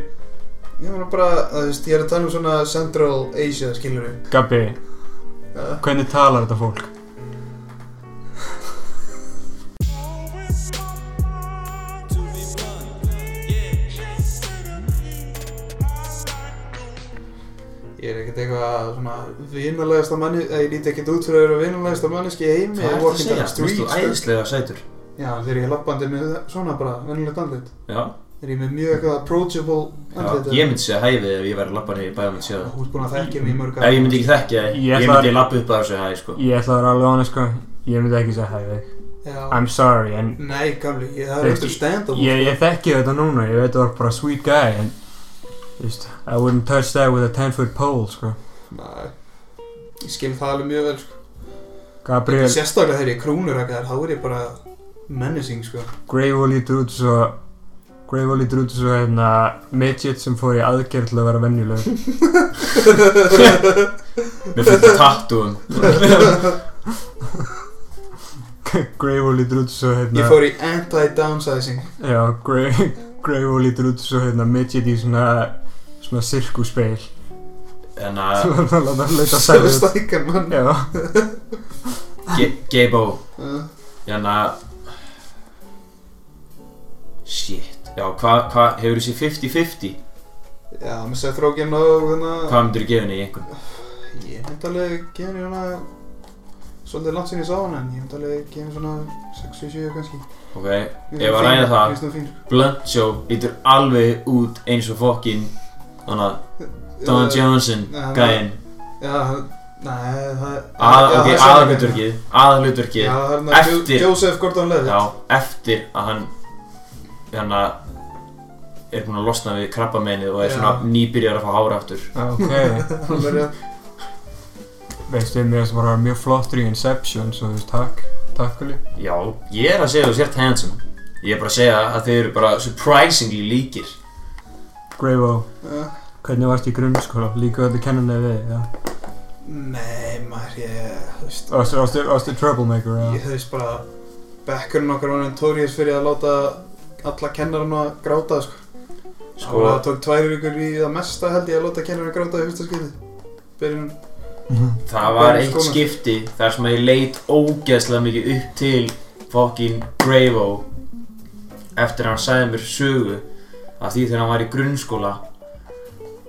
S3: Ég meina bara, þú veist, ég er að tala um svona Central Asia, skilur við
S4: Gabi
S3: Já.
S4: Hvernig talar þetta fólk?
S3: Ég er ekkert eitthvað svona vinalegasta manni, eða ég líti ekkert út fyrir að vera vinalegasta manneski í heimi
S6: Hvað
S3: ég
S6: er það að
S3: walking
S6: segja?
S3: down the
S6: Þú veist,
S3: street,
S6: þú
S3: sko.
S6: æðislega sætur
S3: Já, þegar ég er lappandi með svona bara, venilegt andlit
S6: Já,
S3: Þegar ég er með mjög eitthvað approachable
S6: já.
S3: andlit
S6: Ég myndi segja hæfið ef ég væri að labba niður í bæða myndi segja það
S3: Þú ert búin að þekkja mig í mörg
S6: Ef ég myndi ekki þekkja það,
S4: Ég
S6: ég
S4: ætla-
S6: myndi labba upp að þessu hæði sko
S4: Ég ætla að vera alveg honest sko Ég myndi ekki segja hæði
S3: ekki
S4: I'm sorry en
S3: Nei, gamli, ég það
S4: Ég-
S3: er eftir stand-up
S4: ég, ég þekki þetta núna Ég veit það var bara sweet guy en þú veist, I wouldn't touch that with a 10 foot pole sko
S3: Nei, ég skil það alveg mjög vel sko.
S4: Gabriel
S3: Sérstaklega þegar ég krúnur ekki þar, þá er ég bara menacing sko
S4: Gravo lítur út svo Gravo lítur út svo hérna midget sem fór í aðgerð til að vera venjuleg [LAUGHS]
S6: Mér fyrir það tattúum
S4: Gravo lítur út svo hérna
S3: Ég fór í anti-downsizing
S4: Já, Gra- Gravo lítur út svo hérna midget í svona svona
S3: [LAUGHS]
S4: sirkuspeil
S6: En
S4: sem
S6: að
S4: var að láta leita
S3: Svo
S4: sæður
S3: stækkar mann
S4: Já,
S6: Ge- Gabo hérna,
S3: Uh,
S6: En að Shit Já, hvað, hva, hefur þessi 50-50?
S3: Já, með Seth Rogen og hérna
S6: Hvað myndir þú gefa henni í einhvern?
S3: Ég myndi alveg gefa henni svona Svolítið langt sinni ég sá hana en ég myndi alveg gefa henni svona 6-7 kannski
S6: Ok, Ef að ræða það-
S3: Kristum fín
S6: Blunt Show lítur alveg út eins og fokkin Þannig að Don
S3: Eh,
S6: Johnson
S3: nei,
S6: gæinn
S3: Já, nei, það
S6: Að-
S3: já,
S6: Ok,
S3: það er sannleikurinn.
S6: aðalhutverkið
S3: Já,
S6: Aðalhutverkið
S3: það er hérna Jo-
S6: Eftir.
S3: Joseph Gordon-Levitt
S6: Já, eftir að hann Hérna Er búinn að losna við krabbameinið og er
S3: Já.
S6: svona nýbyrjar að fá hára aftur
S4: ok
S3: Það er rétt.
S4: Veistu, mér finnst bara mjög flottur í Inception, svo þú veist, takk, takk Gulli.
S6: Já, ég er að segja þú sért handsome Ég er bara að segja að þeir eru bara surprisingly líkir
S4: Greifo,
S3: Já.
S4: hvernig varst í grunnskóla? Líka þetta kennan eða við, já.
S3: Nei, maður, ég, þú veist
S4: Varstu, varstu, varstu troublemaker,
S3: Ég
S4: já.
S3: hefðist bara Bekkurinn okkar var notorious fyrir að láta alla kennarinn að gráta, sko Sko,
S6: Sko,
S3: það tók tvær vikur í það mesta held ég að láta kennarinn gráta í fyrsta skipti. Byrjun,
S6: það var
S3: Bara í
S6: eitt
S3: skólanum.
S6: skipti þar sem ég leit ógeðslega mikið upp til fokkin Gravo eftir að hann sagði mér sögu af því þegar hann var í grunnskóla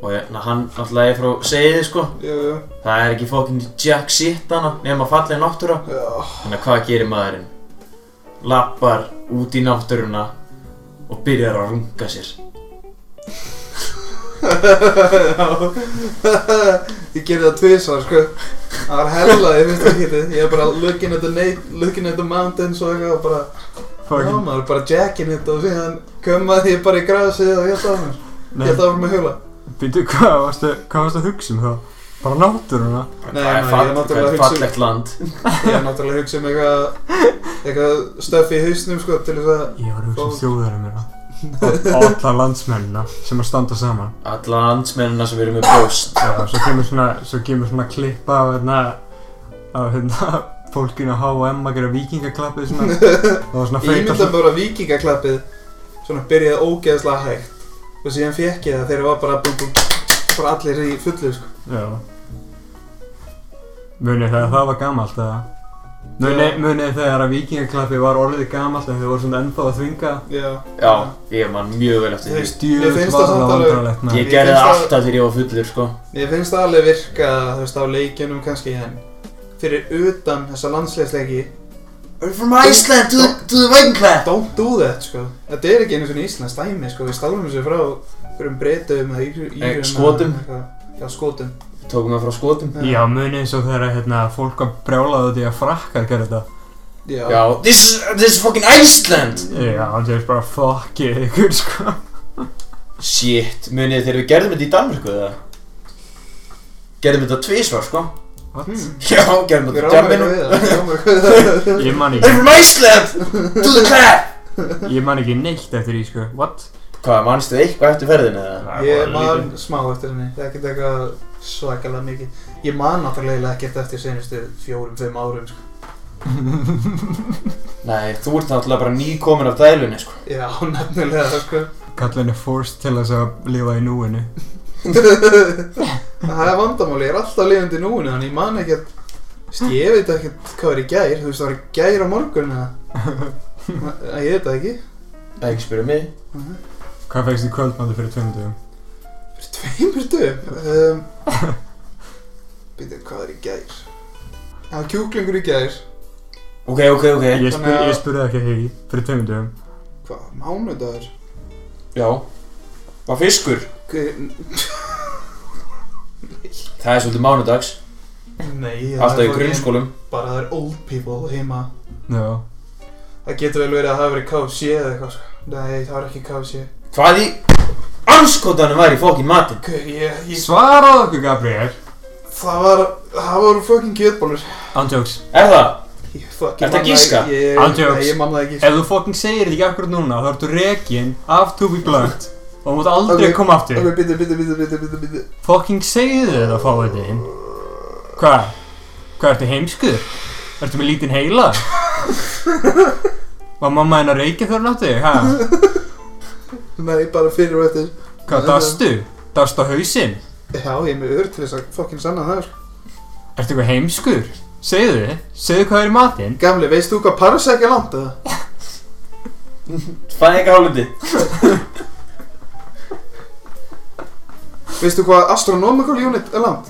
S6: og hérna, hann náttúrulega er frá segið sko
S3: jú, jú.
S6: það er ekki fokkin jack shit hana nema falleg náttúra
S3: Já,
S6: Þannig að hvað gerir maðurinn? Lappar út í náttúruna og byrjar að runga sér.
S3: [LAUGHS] ég gerði það tvisar, sko. Það var hella í fyrsta skipti. Ég var bara looking at the, na- looking at the mountains og eitthvað og bara, já
S4: Fucking,
S3: maður, bara jacking þetta og síðan kömmaði ég bara í grasið og hjátt af mér.
S4: nei,
S3: Hjátt af mér með hjóla.
S4: býtu, hvað varstu, hvað varstu að hugsa um þá? Bara náttúruna?
S3: Nei, nei,
S6: það er
S3: ég
S6: fall,
S3: náttúrulega
S6: það er
S3: hugsa- um-
S6: fallegt land.
S3: Ég er náttúrulega að hugsa um eitthvað, eitthvað stöfi í hausnum, sko, til þess að,
S4: Ég var að hugsa um
S3: Fólk.
S4: þjóðarum mér, Og alla landsmennina sem að standa saman.
S6: Alla landsmennina sem eru með bjóst.
S4: Já, svo kemur svona, svo kemur svona klippa af hérna, af hérna, fólkinu á H&M að gera vikingaklappið svona. Það var svona
S3: Ég
S4: feita
S3: myndi að bara vikingaklappið svona byrjaði ógeðslega hægt og síðan fekk ég það þegar það var bara búm, búm, bara allir í fullu sko.
S4: Já Munið þegar það var gamalt eða? Munið, munið þegar að vikingaklappi var orðið gamalt en þau voru svona ennþá að þvinga
S3: Já.
S6: Já, ég man mjög vel eftir
S3: Þú
S6: því.
S3: veist, Mér
S4: Djúð
S3: finnst
S4: var
S3: það
S4: það
S3: samt alveg-
S4: vandrarlegt maður
S6: Ég
S3: Ég
S6: gerði
S3: finnst
S6: það
S3: að-
S6: alltaf þegar ég var fullur, sko.
S3: Mér finnst það alveg virka þú veist á leikjunum kannski en fyrir utan þessa landsleisleiki
S6: We're from Iceland to, to the wedding clap.
S3: Don't do that sko. Þetta er ekki einu svona íslensk dæmi sko. Við stálum þessu frá hverjum breytum eða írum
S6: Eh, Skotum.
S3: Já, skotum
S6: Tókum það frá skotum.
S4: Já, munið eins og þegar hérna, fólk var brjálaði út í að frakkar gera þetta
S3: Já.
S6: Já, this is, this is fucking Iceland.
S4: Já, hann sér bara fokkið ykkur sko
S6: Shit, munið þegar við gerðum þetta í Danmarku eða? Gerðum þetta tvísvar, sko.
S3: Hmm,
S4: What?
S6: Já, [LAUGHS] gerðum
S3: Við
S6: þetta
S3: rámum
S6: jamminu.
S3: eitthvað við það, við rámum eitthvað við það.
S4: Ég man
S6: We're
S4: ekki,
S6: from Iceland to the clap.
S4: ég man ekki neitt eftir því sko What?
S6: Hvað, mannstu eitthvað eftir ferðinu eða?
S4: Það
S3: Ég
S4: var
S3: man
S4: lítið.
S3: smá eftir henni, það er ekkert eitthvað svakalega mikið. Ég man náttúrulega ekkert eftir senustu fjórum, fimm árum, sko.
S6: Nei, þú ert náttúrulega bara nýkomin af dælunni, sko.
S3: Já, [LAUGHS] nefnilega, sko.
S4: Kallin er forced til þess að lifa í núinu
S3: það er vandamál, ég er alltaf lifandi í núinu, þannig ég man ekkert Vist, ég veit ekkert hvað er í gær, þú veist það var í gær á morgun eða Nei, ég veit það ekki
S6: Það er ekki spyrja mig
S4: Hvað fegst í kvöldmandi fyrir tveimur dögum?
S3: Fyrir tveimur dögum um, Býtum, hvað er í gær? Það var kjúklingur í gær
S6: Ok, ok, ok
S4: Ég, spyr,
S3: Þannig að-
S4: ég spurði ekki hegi fyrir tveimur dögum
S3: Hvað, mánudagur?
S6: Já Var fiskur?
S3: Hver-
S6: Það er svolítið mánudags
S3: Nei, það
S6: Alltaf
S3: er
S6: í
S3: fucking-
S6: grunnskólum
S3: Bara það er old people heima
S4: Já
S3: Það getur vel verið að það hafi verið KFC eða eitthvað sko. Nei, það var ekki KFC
S6: Hvað í anskotanum var í fokkin matinn?
S3: Hver, ég, ég,
S4: Svaraðu okkur Gabriel
S3: það var, það voru fucking kjötbólur
S4: Andjóks
S6: Er það?
S3: Ég fucking
S6: Ertu að
S3: man það
S6: giska?
S3: ekki, ég-
S4: All jokes.
S3: Nei, ég manna ekki
S4: Ef þú fokkin segir þetta ekki akkurat núna þá ertu rekin af To Be Blunt og þú mátt aldrei
S3: Ok,
S4: koma aftur
S3: Ok, bitu, bitu, bitu, bitu, bitu, bitu
S4: Fokking segðu þetta að fá þetta inn Hvað? Hvað ertu heimskur? Ertu með lítinn [LAUGHS] heila? Var mamma henn að reykja þegar hún átti? þig, Ha?
S3: Nei, bara fyrir og eftir
S4: Hvað, dastu? Dastu á hausinn?
S3: Já, ég er með ör til þess að fucking sanna það sko.
S4: Ertu eitthvað heimskur? Segðu þið, segðu hvað er í matinn
S3: Gamli, veist þú hvað parasæk er langt eða?
S6: Fæði ekki hálfindi
S3: Veist þú hvað astronomical unit er langt?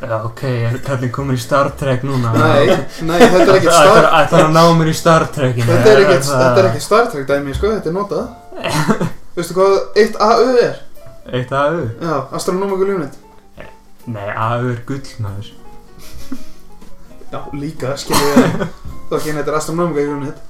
S4: Já, ok, er kallinn komin í Star Trek núna?
S3: Nei, nei, [LAUGHS] þetta er ekkert
S4: Ætlar-
S3: star
S4: Ætlar að ná mér í Star Trekinu?
S3: Þetta er ekkert, þetta er ekkert Star Trek dæmi, sko, þetta er notað [LAUGHS] Veistu hvað 1AU er?
S4: Eitt AU?
S3: Já, astronomical unit
S4: Nei, AU er gullmaður
S3: Já, líka, skilur ég það Fucking, hérna, þetta er astronomical unit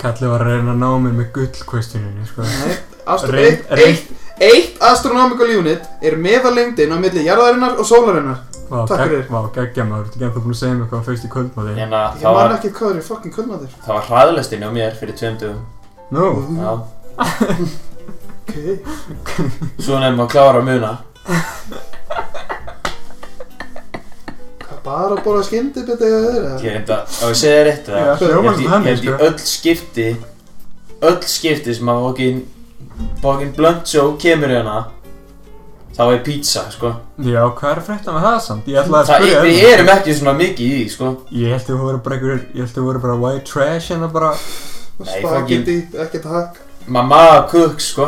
S4: Kallið var að reyna að ná mér með gullkvestuninu, sko
S3: Nei, astro,
S4: Reyn-
S3: eitt, eitt, eitt astronomical unit er meðalengdin á milli jarðarinnar og sólarinnar
S4: Vá,
S3: Takk
S4: gegg-
S3: fyrir.
S4: Vá, geggja maður, þú ert ekki ennþá búin að segja mér hvað fyrst í kvöldmáði
S6: Hérna,
S3: Ég
S6: það
S3: man
S6: var,
S3: ekki hvað er í fucking kvöldmaður
S6: það var hraðlestin á mér fyrir tveim dögum
S4: Nú,
S6: Já
S3: Ok,
S6: Svo nefnum að klára að muna
S3: Hvað bara að borða skyndibita eða þeirra?
S6: Ég reynda, á ég segja þér eitt
S4: Já,
S6: eða
S4: hljómar
S6: Ég
S4: þetta
S6: held
S4: þannig,
S6: í- ég held í
S4: sko.
S6: öll skipti Öll skipti sem að fokkin Fokkin blunt show kemur hérna Þá er pizza, sko
S4: já, hvað er að frétta með það samt? Ég ætlaði að
S6: Það,
S4: spyrja
S6: við
S4: þig.
S6: erum ekki svona mikið í því, sko
S4: Ég held að þú voru bara einhverjir, ég held að þú voru bara white trash en það bara
S6: Nei,
S3: Spagetti, ekkert hakk
S6: Mamma cook, sko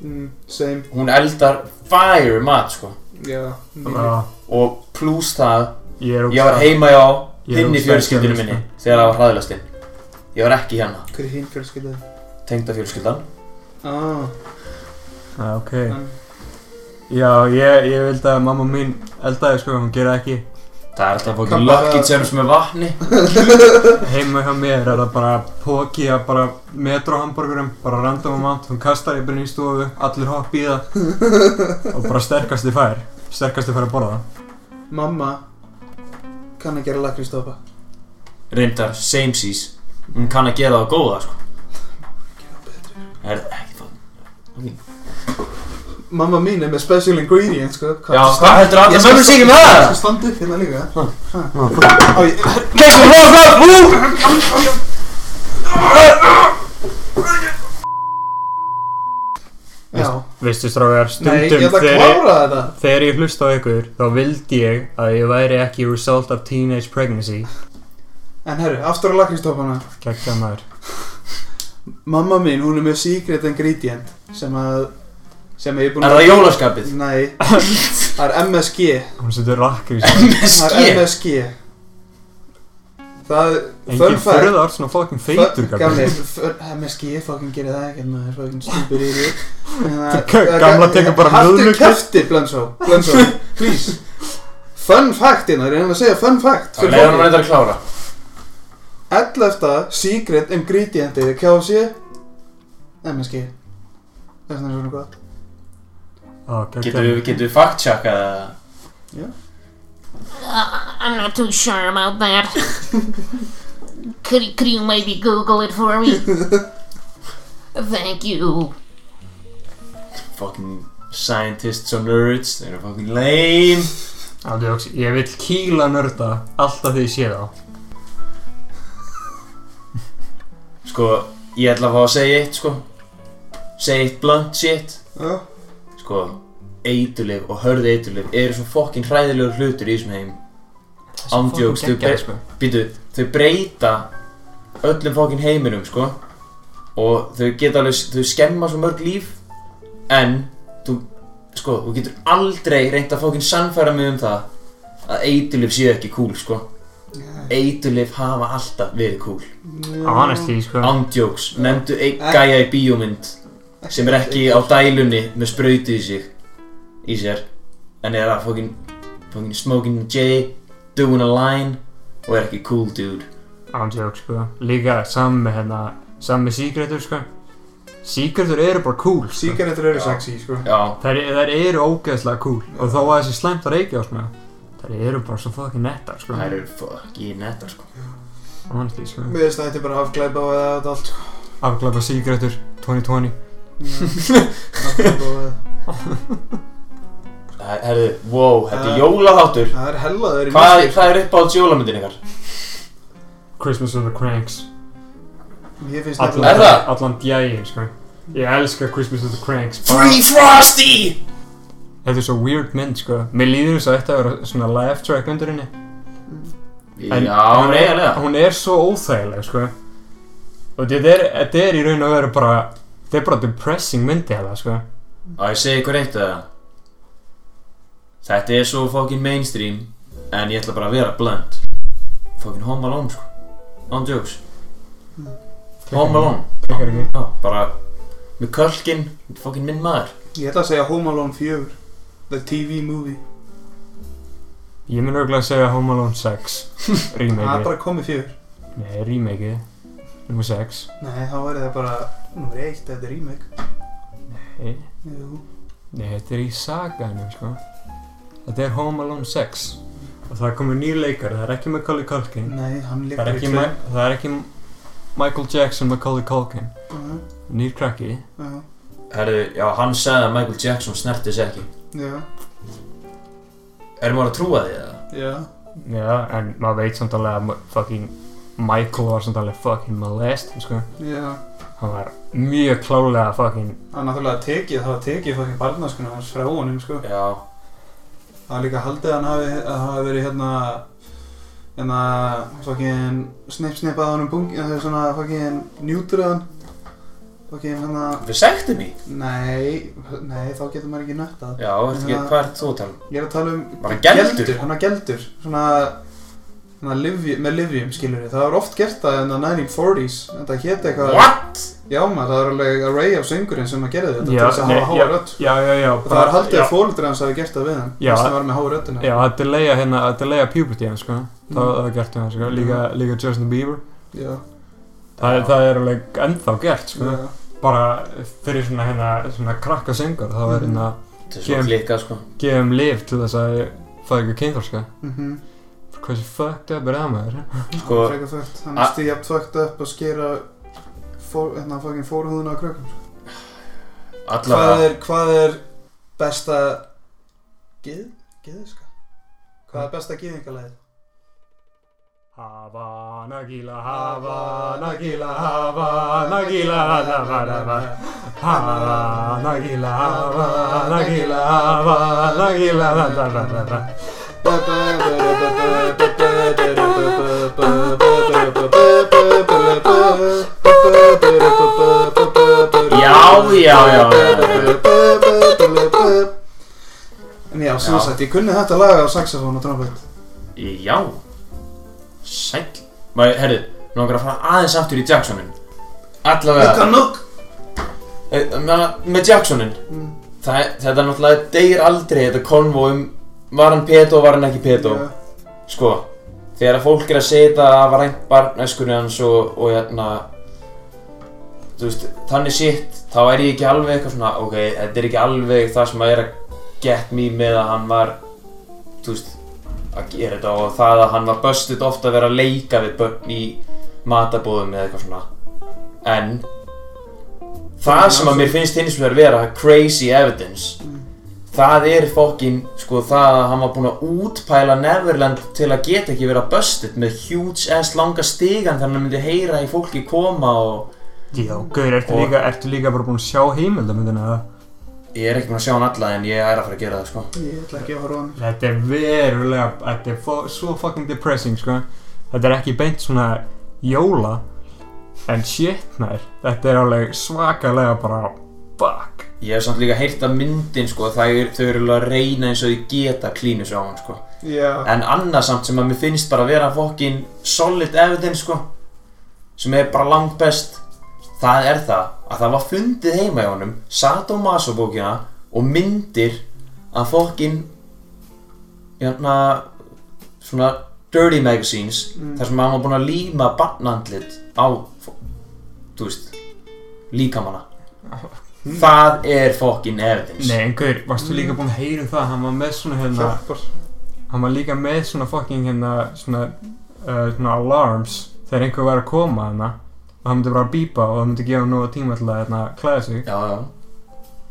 S3: mm, Same,
S6: Hún eldar fire mat, sko
S3: já mm.
S4: Bara,
S6: Ah. Og pluss það
S4: Ég er
S6: Ég var
S4: ógeðslega-
S6: heima hjá
S4: Ég er
S6: hinn í
S4: ógeðslega
S6: fjölskyldinu
S4: skelfing,
S6: minni Þegar það var hraðlastinn Ég var ekki hérna
S3: Hver er hinn fjölskyldið?
S6: Tengda fjölskyldan
S3: Ah,
S4: Já, ok
S3: en-
S4: Já, ég, ég vildi að mamma mín eldaði, sko, hún gera ekki
S6: Það er alltaf
S3: Kan
S6: fokkin
S3: bara-
S6: lucky gems með vatni
S4: Heima hjá mér er það bara póki að bara metrohamburgurum, bara random amount, hún kastar í byrni í stofu, allir hopp í það og bara sterkasti fær, sterkasti fær að borða það.
S3: mamma kann að gera lakrístópa
S6: Reyndar, samesies Hún kann að gera það góða, sko Það er ekki fokkin
S3: Mamma mín er með special ingredients, sko
S6: Já, hvað heldur að
S3: Ég
S6: það
S3: skal
S6: mömmu sig
S3: standa-
S6: með
S3: Ég
S6: það?
S3: skal standa upp hérna líka Á, ég-
S6: Kekku, hvað, hvað, hú?
S3: Já,
S4: Veistu strágar,
S3: nei, ég ætla
S4: stundum
S3: að
S4: þegar,
S3: klára þetta
S4: þegar ég hlusta á ykkur þá vildi ég að ég væri ekki result of teenage pregnancy.
S3: En herru, aftur á lakrístópana
S4: Kekka maður.
S3: Mamma mín, hún er með secret ingredient sem að sem ég er búin
S6: Er það jólaskapið?
S3: Nei, það er MSG
S4: Hún setur lakkar í sig.
S3: Það
S6: MSG
S3: er MSG Það,
S4: Engin
S3: [LAUGHS] fun fact
S4: fyrðar svona fucking feitur
S3: fun- Gamli,
S4: gamli.
S3: fun- MSG, fucking gerir það ekki Það er fucking Hérna, stupir í [LAUGHS] því
S4: Gamla tekur bara
S3: Haldur
S4: hljóðmikið.
S3: kæfti, Blönsó [LAUGHS] Blönsó, please Fun fact hérna, ég er að segja fun fact
S6: Það leiður hann reyndar að klára
S3: 11. secret ingredientið KFC MSG Þess vegna er svona gott
S4: Á, kekka.
S6: Getum við, getum við fact-checkað það?
S7: Uh, I'm not too sure about [LAUGHS] that. could, could you maybe Google it for [LAUGHS] me? Thank you.
S6: Fucking scientists og nerds Þeir eru fucking lame
S4: Andjóks, ég vil kýla nörda alltaf því ég sé þá.
S6: Sko, ég ætla að fá að segja eitt, sko Segja eitt blunt shit
S3: Já,
S6: Sko, eitulif og hörð eitulif eru svo fokkin hræðilegur hlutur í þessum heim Ándjóks, þau,
S4: geggjað, sko.
S6: býtu, þau breyta öllum fókin heiminum, sko og þau geta alveg, þau skemma svo mörg líf en, þú, sko, þú getur aldrei reynt að fókin sannfæra mig um það að eitulif séu ekki cool, sko eitulif hafa alltaf verið cool
S4: Honestly, sko
S6: Ándjóks, nefndu einn gæja í bíómynd sem er ekki á dælunni með sprautu í sig í sér en er að fókin, fókin smoking J doing a line og er ekki cool dude
S4: Ándjók, sko Líka saman með hérna Saman með síkretur, sko Síkretur eru bara cool, sko
S3: Síkaretur eru sexy, sko
S6: Já,
S4: Þær, þær eru ógeðslega cool Og þó að þessi slæmt að reykja á, sko Þær eru bara svo fucking nettar, sko
S6: það eru fucking nettar sko
S4: Honestly, sko
S3: Mér veist að þetta er bara afglæpa og eða þetta allt, sko
S4: Afglapa síkretur 2020
S3: [LAUGHS] Afglæpa og eða
S6: Það- Herðu, wow, Eh, þetta
S3: Það-
S6: er jólaþáttur
S3: Það er hella það er í sko.
S6: Hvað,
S3: næstu,
S6: hvað er upp á jólamyndin ykkar?
S4: Christmas of the Cranks
S3: sko. Mér finnst
S4: Allan,
S3: nefnilega-
S6: Er það?
S4: Allan djægin, sko Ég elska Christmas of the Cranks bara-
S6: Free Frosty!
S4: Þetta er svo weird mynd, sko Mér líður þess að þetta vera svona laugh track undir henni En-
S6: Já, nei, alveg
S4: Hún er svo óþægileg, sko Og þetta er, þetta er í raun og veru bara Þetta er bara depressing myndi hefða, sko
S6: Á, ég segi ykkur eitt að Þetta er svo fucking mainstream En ég ætla bara að vera blunt Fucking Home Alone, sko On jokes Home Alone
S4: Klikkar ekki
S6: Já, bara Með kölkin, fucking minn maður
S3: Ég ætla að segja Home Alone 4 The TV movie
S4: Ég mun örgulega að segja Home Alone [LAUGHS] 6
S3: Það er
S4: Remake
S3: bara komið 4
S4: Nei, remake Númer 6
S3: Nei, þá væri það bara Númer 1, þetta er remake
S4: Nei,
S3: Jú
S4: nei, þetta er í saganum, sko Þetta er Home Alone 6 Og það er komið nýr leikari, það er ekki Macaulay Culkin
S3: Nei, hann
S4: Hm. Það
S3: líka
S4: er ekki, Ma- það er ekki Michael Jackson Macaulay Culkin
S3: Já,
S4: Nýr krakki
S6: Herðu, já, hann sagði að Michael Jackson snerti þess ekki
S3: já,
S6: Erum maður að trúa því eða?
S3: já
S4: Já, en maður veit samt alveg að ma- fucking Michael var samt alveg fucking molest, sko.
S3: Já,
S4: Hann var mjög klálega fucking,
S3: það er náttúrulega tekið, það var tekið fucking barnaskunum hans frá honum, sko
S6: Já,
S3: Það var líka haldið að hann hafi, að hafi verið hérna hérna fokkin snipp-snippað honum bungi það er svona fokkin njútraðan fokkin hérna
S6: við sektum í
S3: nei, nei þá getur maður ekki nöttað
S6: Já, ertu ekki, hvað ert þú að tala um?
S3: ég er að tala um
S6: Var hann geldur?
S3: hann var geldur svona, svona livj, með livjum skilur við það var oft gert það en 1940s þetta hétt eitthvað
S6: What?
S3: já maður það var alveg array af söngurinn sem að gera þetta
S4: Já,
S3: til þess að
S4: nei,
S3: hafa háa rödd
S4: já, já, já.
S3: og það var haldið
S4: já,
S3: að fólöldur hans hafi gert það við hann
S4: Já.
S3: þess að var með háa röddina
S4: Já, að delaya hérna, að delaya puberty hann, sko. Það
S3: Mm.
S4: var það gert við hann, sko. Líka, líka Justin Bieber.
S3: já,
S4: Það, er- það er alveg ennþá gert, sko.
S3: já.
S4: Bara fyrir svona hérna, svona krakka syngar, þá er
S3: Mhm.
S4: hérna,
S6: Þetta er svo
S4: Kem.
S6: klikkað, sko
S4: gefum lif til þess að fæða ykkur kynþorska.
S3: mhm
S4: Hversu fucked up er það maður?
S6: Sko-
S3: Það er frekar fucked, hann
S6: A-
S3: er stíð jafn fucked up að skera fór, hérna, fucking fórhúðuna á krökkum sko. hvað
S6: Allavega
S3: er, hvað er besta geð, geðiska? hvað er besta geðingalæð?
S4: Havana gíla, Havana gíla, Havana gíla, Havana gíla, Havana gíla, Havana gíla, Havana gíla, Havana gíla.
S6: Já, já, já, já.
S3: En já, sem sagt, ég kunni þetta laga á saxofón og trompet
S6: Já Sæll Maður, herru, nú langar að fara aðeins aftur í Jacksonin Allavega
S3: Þetta nokk
S6: Eh, meina, Með Jacksonin
S3: Mm.
S6: Það, Þetta náttúrulega deyr aldrei Þetta konvo um Var hann pedo, var hann ekki pedo
S3: Já.
S6: Sko Þegar að fólk er að segja þetta að var reynd barn öskunni hans og, og hérna Þú veist, þannig sitt Þá er ég ekki alveg eitthvað svona Ok, þetta er ekki alveg það sem að er að Get me með að hann var Þú veist, að gera þetta og það að hann var böstuð ofta að vera að leika við börn í matabóðum eða eitthvað svona en það sem að mér finnst hins vegar vera crazy evidence það er fokkin sko það að hann var búinn að útpæla Neverland til að geta ekki vera böstuð með huge ass langa stigan þannig að hann myndi heyra í fólki koma og
S4: Já, gauður, ertu líka, ertu líka bara búinn að sjá heimildamöndina það?
S6: Ég er ekki búin að sjá hann alla en ég er að fara að gera það sko
S3: Ég ætla ekki að horfa á hann
S4: Þetta er verulega, þetta er fo- svo fucking depressing sko Þetta er ekki beint svona jóla En shit nær, þetta er alveg svakalega bara Fuck
S6: Ég hef samt líka heyrt að myndin sko það er, Þau eru alveg að reyna eins og þau geta klínus á hann sko
S3: Já,
S6: En annað samt sem að mér finnst bara að vera fokkin solid evidence sko sem er bara langt best það er það að það var fundið heima hjá honum Sadomaso bókina og myndir að fokkin jörna svona dirty magazines þar sem hann var búinn að líma barnandlit á fo- þú veist líkamanna það er fokkin evidence
S4: Nei, einhver, varstu líka búinn að heyra um það Hann var með svona hérna
S3: hjálpar
S4: Hann var líka með svona fucking hérna svona, uh, svona alarms Þegar einhver var að koma hérna Og hann myndi bara að bípa og það myndi gefa nú tíma til að hérna klæða sig
S6: já já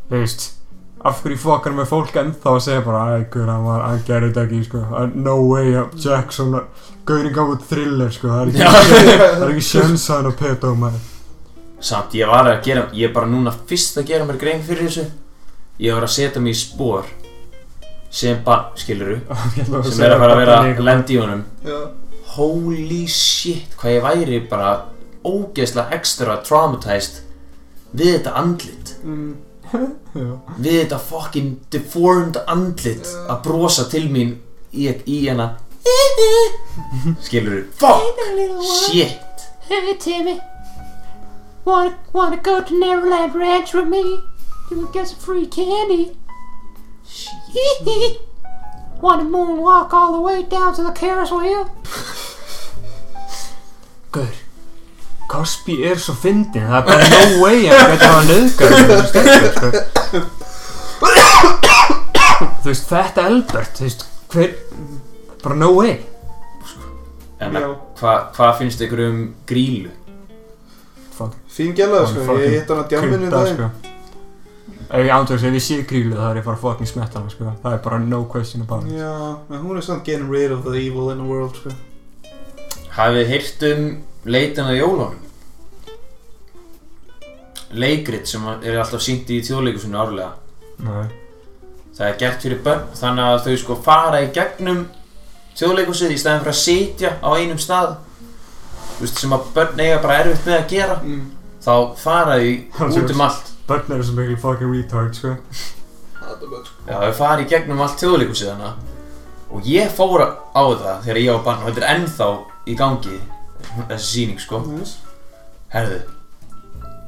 S4: Þú veist Af hverju fokkar með fólk ennþá að segja bara Æ, guður, hann var, hann gerði þetta ekki, sko uh, No way, uh, Jackson Gaurin gaf út thriller, sko Það er ekki, það er ekki sjöns að hann að peta um hann
S6: Samt ég var að gera, ég er bara núna fyrst að gera mér grein fyrir þessu Ég var að setja mig í spór sem bara, skiluru, sem er að fara að vera að lenda í honum
S3: Já,
S6: Holy shit, hvað ég væri bara ógeðslega extra traumatized við þetta andlit
S3: mm,
S6: Við þetta fucking deformed andlit að brosa til mín í, í hana Skiluru, fuck, shit
S7: Hey, Timmy. Want, want to go to Neverland Ranch with me? You can get some free candy. [LAUGHS] want to moonwalk all the way down to the Ferris wheel?
S4: Gaur Cosby er svo fyndin, það er bara no way að hann gæti að hafa nöðgar Þú sko. veist, þetta Albert, þú veist, hver bara no way
S6: En
S3: já
S6: hvað hva finnst ykkur um grílu?
S4: Fuck,
S3: Fín gælaði
S4: Hann
S3: sko,
S4: fucking
S3: ég hitt hann á djamminu í
S4: krydda,
S3: daginn
S4: sko Ef ég ándjóks, ef ég sé grílu þá er ég bara fucking smetta hana, sko Það er bara no question about it
S3: Já, en hún er samt getting rid of the evil in the world sko
S6: Hafið heyrt um leitin að jólunum? Leikrit sem er alltaf sýnt í þjóðleikusinu árlega
S4: Nei,
S6: Það er gert fyrir börn þannig að þau sko fara í gegnum þjóðleikusið í staðin fyrir að sitja á einum stað Þú veist sem að börn eiga bara erfitt með að gera
S3: mm.
S6: Þá fara þau
S4: Hann
S6: út um
S4: sér-
S6: allt
S4: börn eru svo mikil fucking retard, sko
S6: Já, þau fara í gegnum allt þjóðleikusið hana Og ég fór á það þegar ég var barn og þetta er ennþá í gangi Þessi sýning sko
S3: Nice.
S6: Herðu,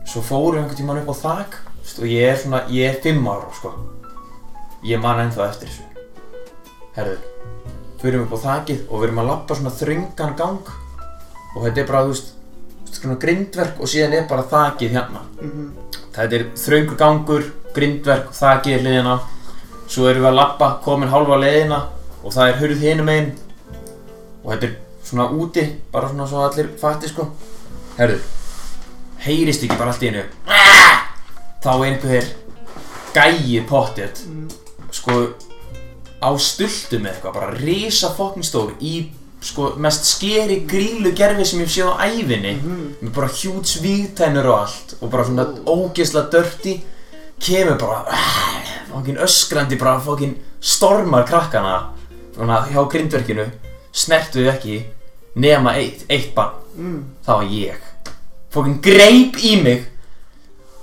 S6: svo fórum við einhvern tímann upp á þak veist, og ég er svona, ég er fimm ára sko ég man ennþá eftir þessu Herðu, fyrir upp á þakið og við erum að lappa svona þröngan gang og þetta er bara, þú veist, svona grindverk og síðan er bara þakið hérna
S3: Mhm.
S6: Þetta er þröngur gangur, grindverk, þakið er hliðina svo erum við að lappa, komin hálfa leiðina og það er hurð hinum einn og þetta er svona úti, bara svona svo allir fatti sko Herðu, heyrist ekki bara allt í einu "Ah!" þá er einhver gæi pottet sko á stultum eða eitthvað bara risa fokkin stór í sko mest skeri grílu gerfi sem ég hef séð á ævinni með bara hjúts vígtænur og allt og bara svona ógeðslega dörti kemur bara "Ah!" fokkin öskrandi bara fokkin stormar krakkana svona hjá grindverkinu snertuðu ekki nema eitt, eitt barn
S3: Mm.
S6: það var ég fokkin greip í mig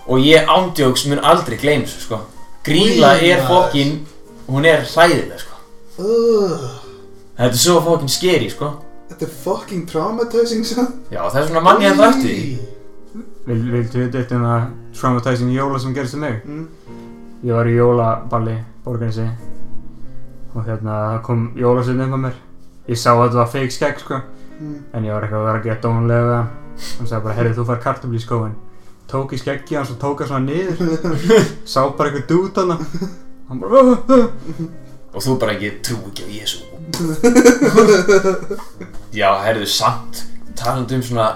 S6: og ég ándjóks mun aldrei gleyma þessu sko Gríla
S3: Új,
S6: er
S3: maður.
S6: fokkin hún er hræðileg sko
S3: Ugh,
S6: þetta er svo fokkin skeri sko
S3: Þetta er fucking traumatizing samt
S6: já það er svona manni að það eftir því
S4: Vil, viltu við þetta hérna traumatizing jóla sem gerist um mig?
S3: Mm.
S4: Ég var í jólaballi borgarnesi og hérna það kom jólasveinn upp að mér. Ég sá að þetta var fake skegg sko
S3: Mm.
S4: en ég var eitthvað að vera að geta dónulega við hann. Hann sagði bara, heyrðu þú fær kartabli í skóin. Tók í skeggi hans og tók hann svona niður.
S3: [LAUGHS]
S4: sá bara eitthvað dút hann. Hann bara, "Uh, uh."
S6: og þú bara ekki trú ekki á Jésu já herðu samt talandi um svona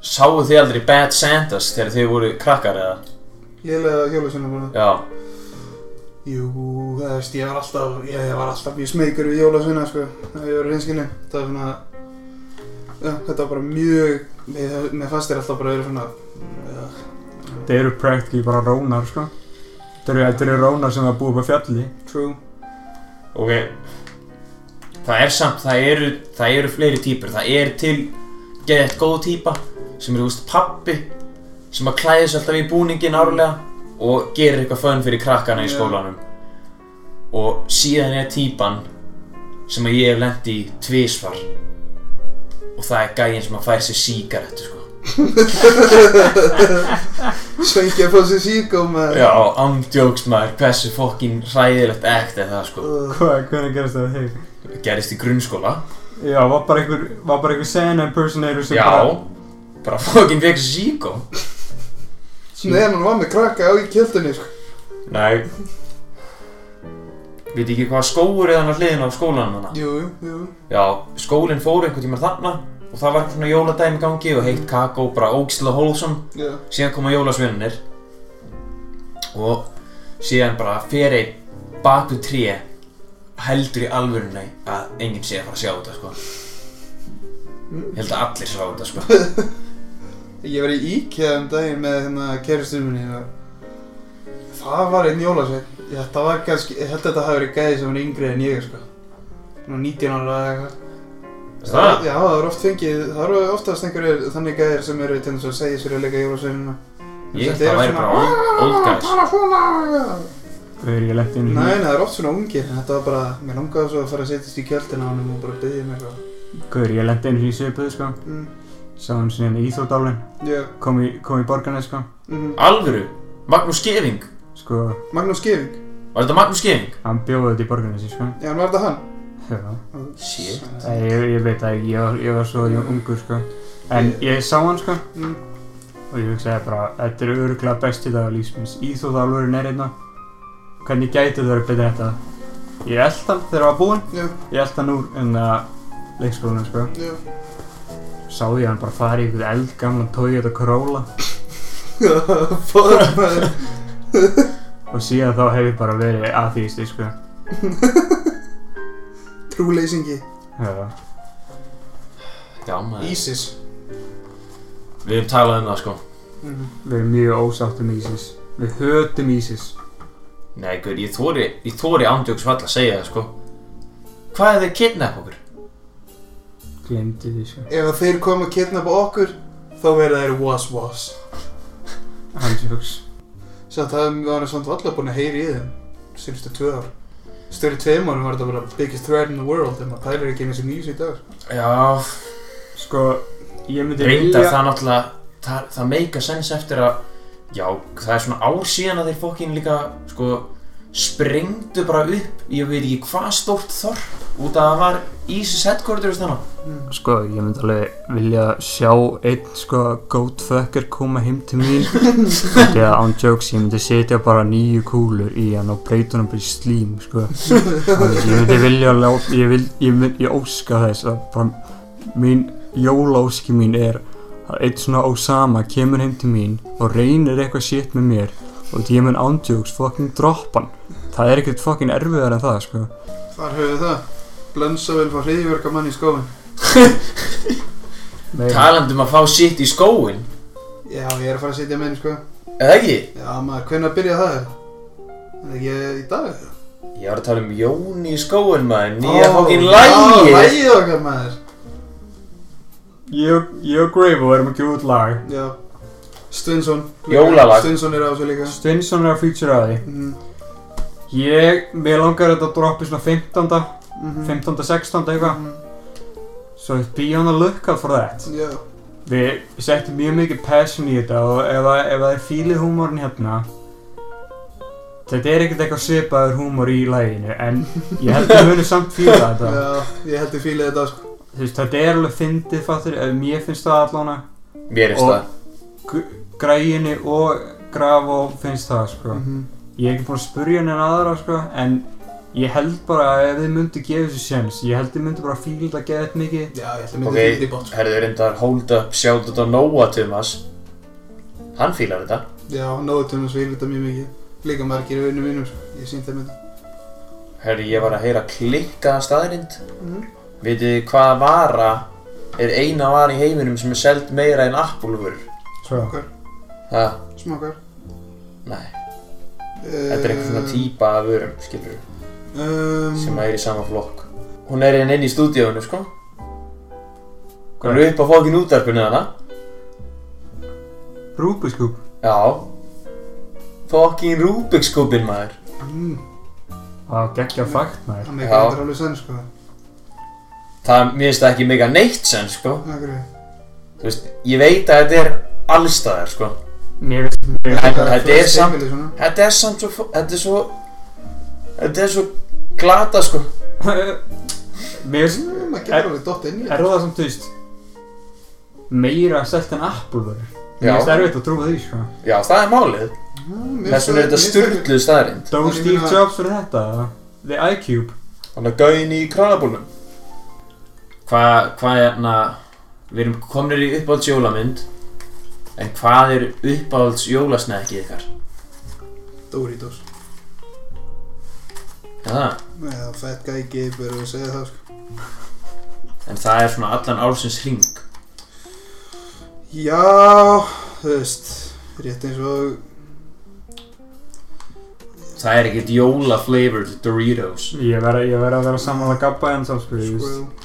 S6: sáu þið aldrei Bad Santas þegar þið voru krakkar eða
S3: Lélega hjólusinu búin
S6: já
S3: Jú, það veist, ég var alltaf, ég var alltaf mjög smeykur við jólasveina, sko, þegar ég var reynskynni. Það var svona, já, þetta var bara mjög, mér, mér fannst þér alltaf bara að vera svona, uh, já,
S4: Þeir eru practically bara rónar sko. Þetta eru, þetta eru rónar sem að búa upp á fjalli
S3: True
S6: Ok Það er samt, það eru, það eru fleiri típur Það er til geðið góð típa sem eru, þú veist, pappi sem að klæði sig alltaf í búningin árlega og gerir eitthvað fönn fyrir krakkana í
S3: Já.
S6: skólanum og síðan er típan sem að ég hef lent í tvísvar og það er gæinn sem að fær sér sígarettu sko.
S3: Svengið að fá sér síkó með
S6: Já, ándjóks maður, hversu fokkin hræðilegt ekt er það sko
S3: uh,
S4: Hvað, hvernig gerast það þig?
S6: gerist í grunnskóla
S4: Já, var bara einhver, var bara einhver Santa impersonator sem
S6: Já,
S4: bara
S6: bara fokkin fekk sér síkó
S3: Nei, hann var með krakka á í kjöldunni sko.
S6: Nei Veit ekki hvað skóur er þannig að hliðin á skólanum hana
S3: Jú, jú
S6: Já, skólinn fór einhvern tíma þarna Og það var eitthvað svona jóladæmi í gangi og heitt kakó, bara ógislega hólsum
S3: Já,
S6: Síðan koma jólasvinnir Og síðan bara fer einn bak við tré Heldur í alvörunni að enginn sé að fara að sjá þetta sko Ég held að allir sjá þetta sko
S3: ég var í IKEA um daginn með hérna kæristur minni og það var einn jólasveinn. Þetta var kannski, ég held að þetta hafi verið gæði sem var yngri en ég sko. Nú 19 ára eða eitthvað.
S6: Veist það?
S3: Já, það eru oft fengið, það eru oftast einhverjir þannig gæðir sem eru til þess að segja sér að leika jólasveinina.
S6: Ég held að það væri bara old- old guys
S3: Bara svona,
S4: Hvað er ég lent inn í?
S3: Nei, nei, það er oft svona ungir, en þetta var bara, mér langaði svo að fara að setjast í kjöldina á honum og bara byggja mig eitthvað.
S4: Hvað er ég lent inn í svipuð, sko?
S3: Mm,
S4: Sá hann sinni hérna í Íþórdálinn
S3: já,
S4: Kom í, kom í borgarnes, sko
S3: mhm.
S6: Alvöru, Magnús Skeving
S4: Sko,
S3: Magnús Geving,
S6: Var þetta Magnús Skeving?
S4: hann bjóði þetta í borgarnes, sko
S3: já, hann var þetta hann.
S4: Já
S6: Shit
S4: Nei, ég, ég veit það ekki, ég var, ég var svo ungur sko En ég sá hann sko
S3: Mm.
S4: Og ég hugsaði bara, þetta er örgulega besti dag lífsmins Íþjóðalvörin er hérna Hvernig gæti það verið betur en þetta Ég eld hann þegar hann var búinn
S3: Mm, Já,
S4: Ég eld hann úr en leikskólinu sko
S3: já.
S4: Sá ég hann bara fara í einhvern eldgamlan Toyota Corolla
S3: [LAUGHS] Fóður maður.
S4: Og síðan þá hef ég bara verið atheisti sko
S3: Trúleysingi.
S4: Já,
S6: Já maður
S3: Ísis.
S6: Við hefum talað um það sko
S3: Mm.
S4: við erum mjög ósáttum Ísis Við hötum Ísis
S6: Nei, gaur, ég þóri, ég þóri ándjóks vall að segja það sko Hvað er þeir kidnapp okkur?
S4: Glemdi því sko
S3: Ef að þeir koma að kidnappa okkur, þá verða þeir was-was.
S4: Hans hugs
S3: Samt það var hann samt allar búin að heyra í þeim, sínustu tvö ár. Störi tveim árum var þetta bara biggest threat in the world, en maður pælir ekki einu sem nýjus í dag.
S6: Já,
S4: Sko, ég myndi
S6: reyndar það náttúrulega Það, það meika sens eftir að Já, það er svona ár síðan að þeir fokkin líka Sko, sprengdu bara upp Ég veit ekki hvað stórt þorp Út að það var ISIS headquarters þannig
S4: Sko, ég myndi alveg vilja sjá einn, sko, goatfucker koma heim til mín Því að án jokes, ég myndi setja bara nýju kúlur í hann og breyta hann bara í slím, sko Þannig, Ég myndi vilja, lá- ég, vil, ég, mynd, ég óska þess að bara Mín, jóláski mín er að einn svona Osama kemur heim til mín og reynir eitthvað shit með mér og því ég mun án jokes fucking droppa hann Það er ekkert fucking erfiðar en það, sko
S3: Þar höfðu það. Blönsavel var hriðjverka mann í skóin.
S6: Talandi um að fá sitt í skóin
S3: Já, ég er að fara að setja með henni sko.
S6: Eða ekki?
S3: Já, maður, hvernig að byrja það er? Er ekki eh, í dag eða?
S6: Ég var að tala um Jón í skóin maður Nýja
S3: Ó,
S6: fokkin
S3: Já,
S6: lægi
S3: lægið okkar maður.
S4: Ég, ég og Gravo erum ekki út lag
S3: Já. Stunson.
S6: Jólalag.
S3: Stunson er á þessu líka.
S4: Steinsson er að feature að því
S3: Mhm,
S4: Ég, mér langar þetta að droppi svona 15.
S3: mhm.
S4: 15. 16. eitthvað
S3: Mhm,
S4: So be on the lookout for that
S3: Já.
S4: Við settum mjög mikið passion í þetta og ef, að- ef það er fílið húmórin hérna Þetta er ekkert eitthvað svipaður húmór í læginu en ég held að muni samt fíla þetta
S3: [LAUGHS] Já, ég held ég fílið þetta sko.
S4: Þú veist, þetta er alveg fyndið fattur, ef mér finnst það allána
S6: Mér finnst
S4: Og-
S6: það
S4: Græginni og graf og finnst það sko
S3: Mhm.
S4: Ég hef ekki búin að spurja henni en aðra sko, en ég held bara að ef þið myndu gefa þessu séns, ég held þið myndu bara fíla þetta gefa þetta mikið.
S3: Já, ég held ég myndi
S6: Ok,
S3: okay. fílið í bótt sko.
S6: herðu reyndar hold up, sjáðu þetta Nóa Tumas Hann fílar þetta
S3: Já, nóðutunum fílið þetta mjög mikið. Líka margir í vinnum mínum sko. Ég sýndi þeim þetta.
S6: Herðu ég var að heyra klikkaða staðrind
S3: Mhm.
S6: Vitið þið hvaða vara er eina vara í heiminum sem er seld meira en appulvur
S4: Svo,
S3: Okkar.
S6: Ha?
S3: Smakar.
S6: Nei Þetta er eitthvað svona
S3: Eh.
S6: típa af vörum, skilur
S3: um,
S6: sem er í sama flokk Hún er hérna inn í stúdíóinu, sko Hún er upp á fókin útarpinu þarna
S4: Rubik's Cube
S6: Já Fokkin Rubik's kubin maður
S3: mm,
S4: Það geggja fakt maður
S3: Það mikið
S6: Já.
S3: þetta er alveg senn sko
S6: Það, mér finnst það ekki mega neitt sen, sko
S3: Akkur við
S6: Þú veist, ég veit að þetta er allstaðar, sko
S4: Mér finnst mjög
S6: En þetta er samt,
S3: Heimili svona
S6: þetta er samt svo, fó- þetta er svo Þetta er svo glata, sko
S4: Mér finnst
S3: Mm, Maður getur alveg dott inn í
S4: Er það samt, þú veist Meira selt en Apple verður Mér
S6: Já.
S4: finnst erfitt að trúa því, sko
S6: Já, það er málið Þess vegna er þetta styrluð staðarind
S4: Dó
S3: En ég
S4: Steve
S3: meina-
S4: Jobs fyrir þetta eða? The iCube
S6: Þannig að gauðin í kranabólum Hvað, hvað er hérna Við erum komnir í uppáhalds jólamynd En hvað er uppáhalds jólasnekkið ykkar?
S3: Doritos
S6: Er það?
S3: Eða Fat Guy Gabe er að segja það sko
S6: En það er svona allan ársins hring
S3: Já, þú veist Rétt eins og
S6: Það er ekkert jóla flavored Doritos
S4: Ég verð ég verð að vera saman að gabba enn samt, sko ég
S3: sko
S4: veist-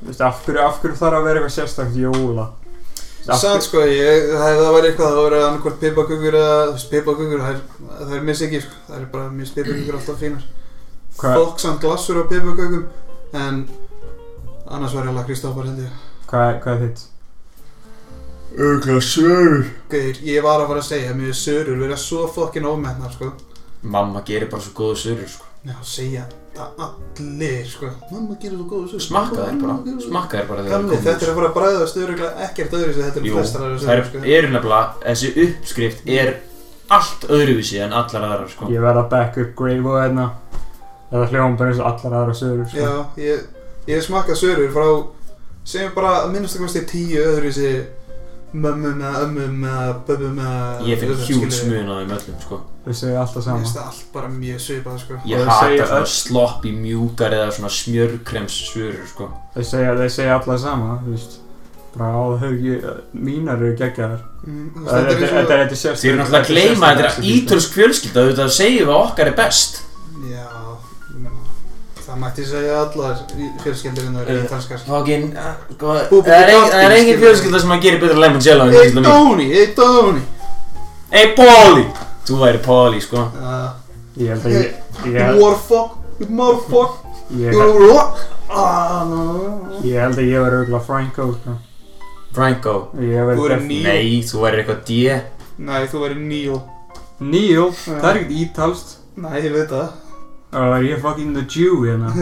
S4: Þú veist, af hverju, af hverju þarf að vera eitthvað sérstakt jóla? Þú veist, af
S3: Samt
S4: hverju-
S3: sko, ég, það, það var eitthvað, það var annarkvort pipakökur eða, þú veist, pipakökur, það er, það er miss ekki, sko, það er bara miss pipakökur alltaf fínar.
S4: Hvað-
S3: Fólk samt glassur á pipakökum, en annars var ég alveg Kristófar hendi ég.
S4: Hvað er- hvað er þitt?
S6: Ögla sörur
S3: Gauðir, ég var að fara að segja, mér finnst sörur verið svo fokkin ofmennar, sko.
S6: Mamma gerir bara svo góða sörur sko.
S3: Já, segja það allir, sko. Mamma gerir svo góð sörur.
S6: Smakka þær bara Smakka þær bara þegar
S3: Gamli, þetta er
S6: út.
S3: að fara að bræðast öðruglega ekkert öðru sem þetta er
S6: Jú,
S3: flestar aðra
S6: þær
S3: sörur, sko.
S6: eru nefnilega Þessi uppskrift er allt öðruvísi en allar aðrar sko.
S4: Ég verð að back up Gravo hérna Þetta hljóðum bara eins og allar aðra sögur sko.
S3: Já, ég, ég smakka sörur frá sem er bara að minnst að kosti tíu öðru þessi mömmum eða ömmum eða böbbum eða
S6: Ég finn
S3: öðrum,
S6: hjúl
S3: skilurðu.
S6: smun á þeim öllum sko.
S4: Þau segja alltaf
S3: Mér
S4: sama
S3: finnst það allt bara mjög svipað sko
S6: Ég
S4: Og þau
S6: hata
S4: segja
S6: svona
S4: öll-
S6: sloppy mjúkar eða svona smjörkrems svörur sko
S4: Þau segja, þau segja alltaf sama Þú veist Bara á haugi Mínar eru geggjaðar
S3: Mm, þú veist,
S4: Þetta er þetta er- þetta er sko.
S6: Þið
S4: sérstaklega
S6: eru náttúrulega að gleyma að þetta er ítölsk fjölskylda auðvitað að segja við okkar er best
S3: Já, ég meina, það mætti segja allar fjölskeldirinn það eru
S6: Eh,
S3: ítalskar
S6: Fokkin, sko,
S3: Bú- bú-
S6: það er ein-
S3: bú-
S6: það er engin
S3: skilur.
S6: fjölskylda sem að gera betur lemon jello en
S3: Ei
S6: fjölskylda mín
S3: Dóni, ei Dóni
S6: Ey Póli! Þú væri Póli sko
S3: Uh,
S4: Ég held að ég Ég,
S3: Warfuck, you motherfuck
S4: ég,
S3: You rock Ah, no.
S4: ég held að ég verði auðvitað Franco sko.
S6: Franco
S4: Ég
S3: Þú
S4: verði
S3: verður
S4: def-
S3: Neil.
S6: Nei, þú væri eitthvað D
S3: Nei, þú verður Neil
S4: Neil Það er ekkert ítalst
S3: Nei, ég veit það [LAUGHS]
S4: Það er ég fucking the Jew hérna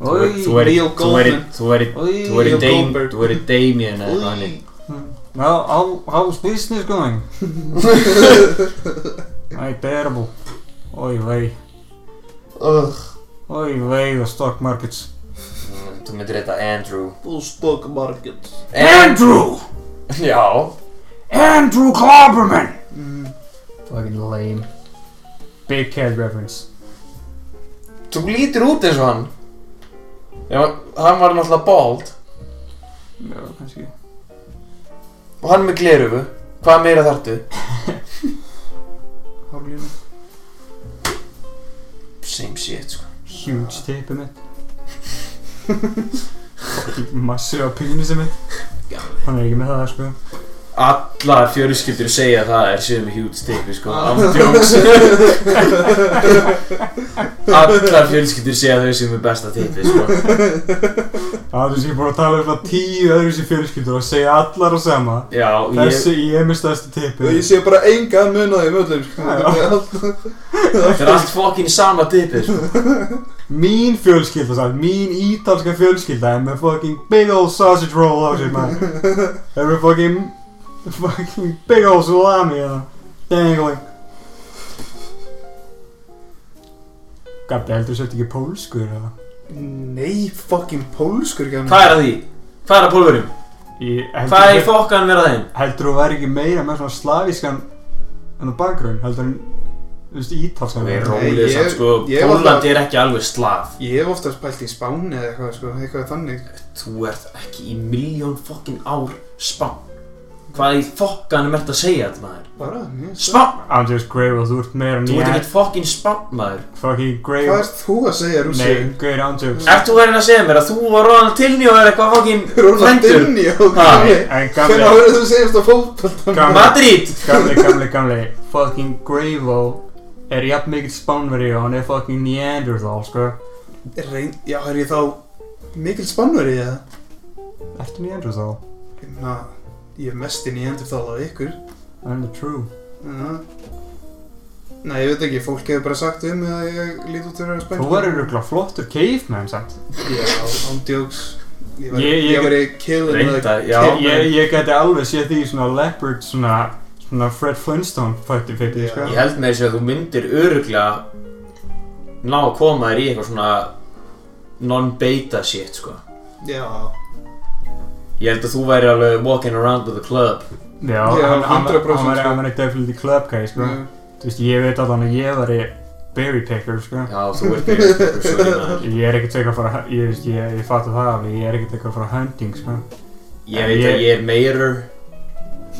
S6: Þú væri- þú
S4: Oi
S6: væri-
S3: Neil
S6: þú væri-
S3: Goldman.
S6: Þú væri-
S4: Oi
S6: þú væri
S3: Neil
S6: Dam-
S3: Goldberg.
S6: Þú væri Damien eða eitthvað hannig
S3: Í.
S4: Well, how, how's business going? I terrible. Oi vey.
S3: Ugh,
S4: Oi vey, the stock markets.
S6: Þú myndir þetta Andrew
S3: bull stock market
S4: Andrew!
S6: Já
S4: Andrew Clobberman!
S3: Mm.
S4: Fucking lame. Big head reference.
S6: Þú lítir út eins og hann Já, hann var náttúrulega bald
S4: Já, kannski.
S6: og hann með glerufu Hvað meira þartu?
S3: Hárlínu
S6: Same shit, sko
S4: Huge tape mitt. Fucking massi á pínusi mitt. Hann er ekki með það, sko.
S6: Allar fjölskyldur segja að það er síðan með hjút stipi, sko
S3: Ah.
S6: I'm jokes Allar fjölskyldur segja að þau séu með besta tipi, sko
S4: Það er þess að ég er búin að tala um svona tíu öðru sér fjölskyldur og segja allar á sama.
S6: Já, ég
S4: Þessi, ég er með stærsti
S3: Og ég
S4: tipið.
S3: sé bara enga mun á þeim öllum sko.
S4: Já.
S3: Þetta er allt-
S6: Þetta er allt fokkin sama tipi, sko
S4: Mín fjölskylda sann, mín ítalska fjölskylda er með fucking big ol' sausage roll á sér
S3: [LAUGHS]
S4: maður Er með fucking, fucking big ol' salami eða dangling Gabbi, heldur þú sért ekki pólskur eða?
S3: Nei, fucking pólskur gæmur
S6: Hvað er að því? Hvað er að pólverum?
S4: Ég, heldur,
S6: Hvað er í fokkan verið að þeim?
S4: Heldur þú væri ekki meira með svona slavískan en á bakgrunn, heldur en, þú veist, ítalskan
S6: Við
S4: eða?
S3: Nei,
S6: rólið
S3: ég-
S6: samt, sko
S3: ég var
S6: Pólland
S3: það-
S6: er ekki alveg slav
S3: Ég hef ofta spælt í Spáni eða eitthvað sko Eitthvað þannig
S6: Þú ert ekki í miljón fokkin ár spán Hvað í fokkanum ert að segja þetta maður?
S3: Bara, mjög stöð.
S6: Spam!
S4: Andrews Gravel, þú ert meira en
S6: Þú
S4: ég
S6: ert ekkert fokkin spam maður
S4: Fucking
S3: Hvað
S4: Gravel
S3: ert þú að segja, Rússi?
S4: Nei, Gaur Andrews
S6: Ert þú verið að segja mér að þú var Ronald Tilney og er eitthvað fokkin
S3: Rúnar Dinni og
S6: Ha,
S3: Gamli.
S4: En
S3: Hvernig
S4: gamli,
S3: verður þú segjast á fótboltan?
S4: gamli,
S6: Madrid
S4: gamli, gamli, gamli Fucking Gravel er jafn mikill spánveri og hann er fucking Neanderthal, sko
S3: Reyn, já, er ég þá mikil spannur í það?
S4: Ertu Neanderthal?
S3: Ég meina, Hérna, ég er mestinn í endurþála af ykkur.
S4: I'm the true
S3: Já. Nei, ég veit ekki, fólk hefur bara sagt við mig að ég lít út fyrir að spænka.
S4: Þú verður ykkur flottur caveman, sagt
S3: Já, ándjóks. Ég var,
S4: Ég-
S3: ég,
S4: ég-
S3: var í killin
S6: Reynda, já
S4: Ég, ég geti alveg séð því svona leopard, svona, svona Fred Flintstone fætti fyrir,
S3: Já.
S4: sko
S6: Ég held með þessu að þú myndir öruglega ná að koma þér í eitthvað svona non-beta shit sko
S3: Já,
S6: Ég held að þú væri alveg walking around with a club
S4: Já,
S3: Já,
S4: hann, hann,
S3: 100%
S4: hann var,
S3: sko.
S4: hann var definitely club guy,
S3: [LAUGHS]
S4: sko
S3: Mm.
S4: Þú veist, ég veit allan að ég væri berry picker, sko
S6: Já, þú ert
S3: [LAUGHS]
S6: með svo í maður
S4: Ég er ekkert eitthvað að fara, ég veist, ég, ég fattu það alveg, ég er ekkert eitthvað að fara hunting, sko
S6: Ég veit að ég er meirur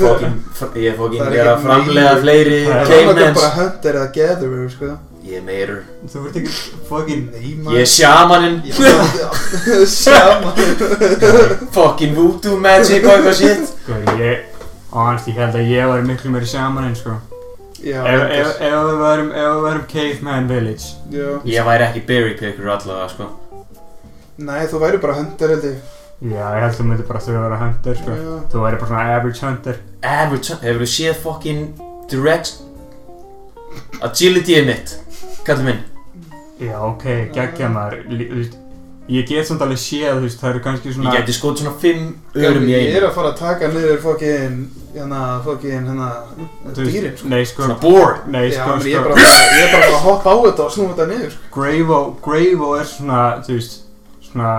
S6: Fokkin, ég er fokkin
S3: Það er
S6: ég er að
S3: ekki
S6: framlega
S3: meirur.
S6: fleiri
S4: Það er
S3: það er
S6: caymans
S3: bara hunter eða gatherer, sko.
S6: Ég er meirur
S4: Þú ert ekkert fucking
S3: Nei,
S6: Ég er shamaninn
S3: Já, sama.
S6: Fokkin voodoo magic og eitthvað
S3: [LAUGHS]
S6: shit
S4: Sko, ég, honest, ég held að ég væri miklu meiri samaninn, sko
S3: Já,
S4: Ef
S3: hunter.
S4: ef- ef við værum, ef við værum caveman village
S3: Já.
S6: Ég væri ekki berry picker allavega sko
S3: Nei, þú væri bara hunter, held ég.
S4: Já, ég held að þú myndir bara þau að vera hunter, sko
S3: Já.
S4: Þú væri bara svona average hunter
S6: Average Hefur þú séð fokkin direct Agilityið mitt Kallum minn
S4: Já, ok, geggja
S3: Mm.
S4: maður Lí- Þú veist, ég get samt alveg séð, þú veist, það eru kannski
S6: Ég
S4: svona
S6: geti skot svona 5 örum í
S3: Ég er
S6: einu
S3: að fara að taka niður fokkin, hérna, fokkin, hérna,
S4: þú veist,
S3: dýrin, sko.
S4: Nei, sko,
S6: Svona board
S4: nei,
S3: Já,
S4: sko,
S3: menn ég er
S4: sko
S3: bara ég er bara að fara að hoppa á þetta og snúa þetta niður, sko.
S4: Gravo, Gravo er svona, þú veist, svona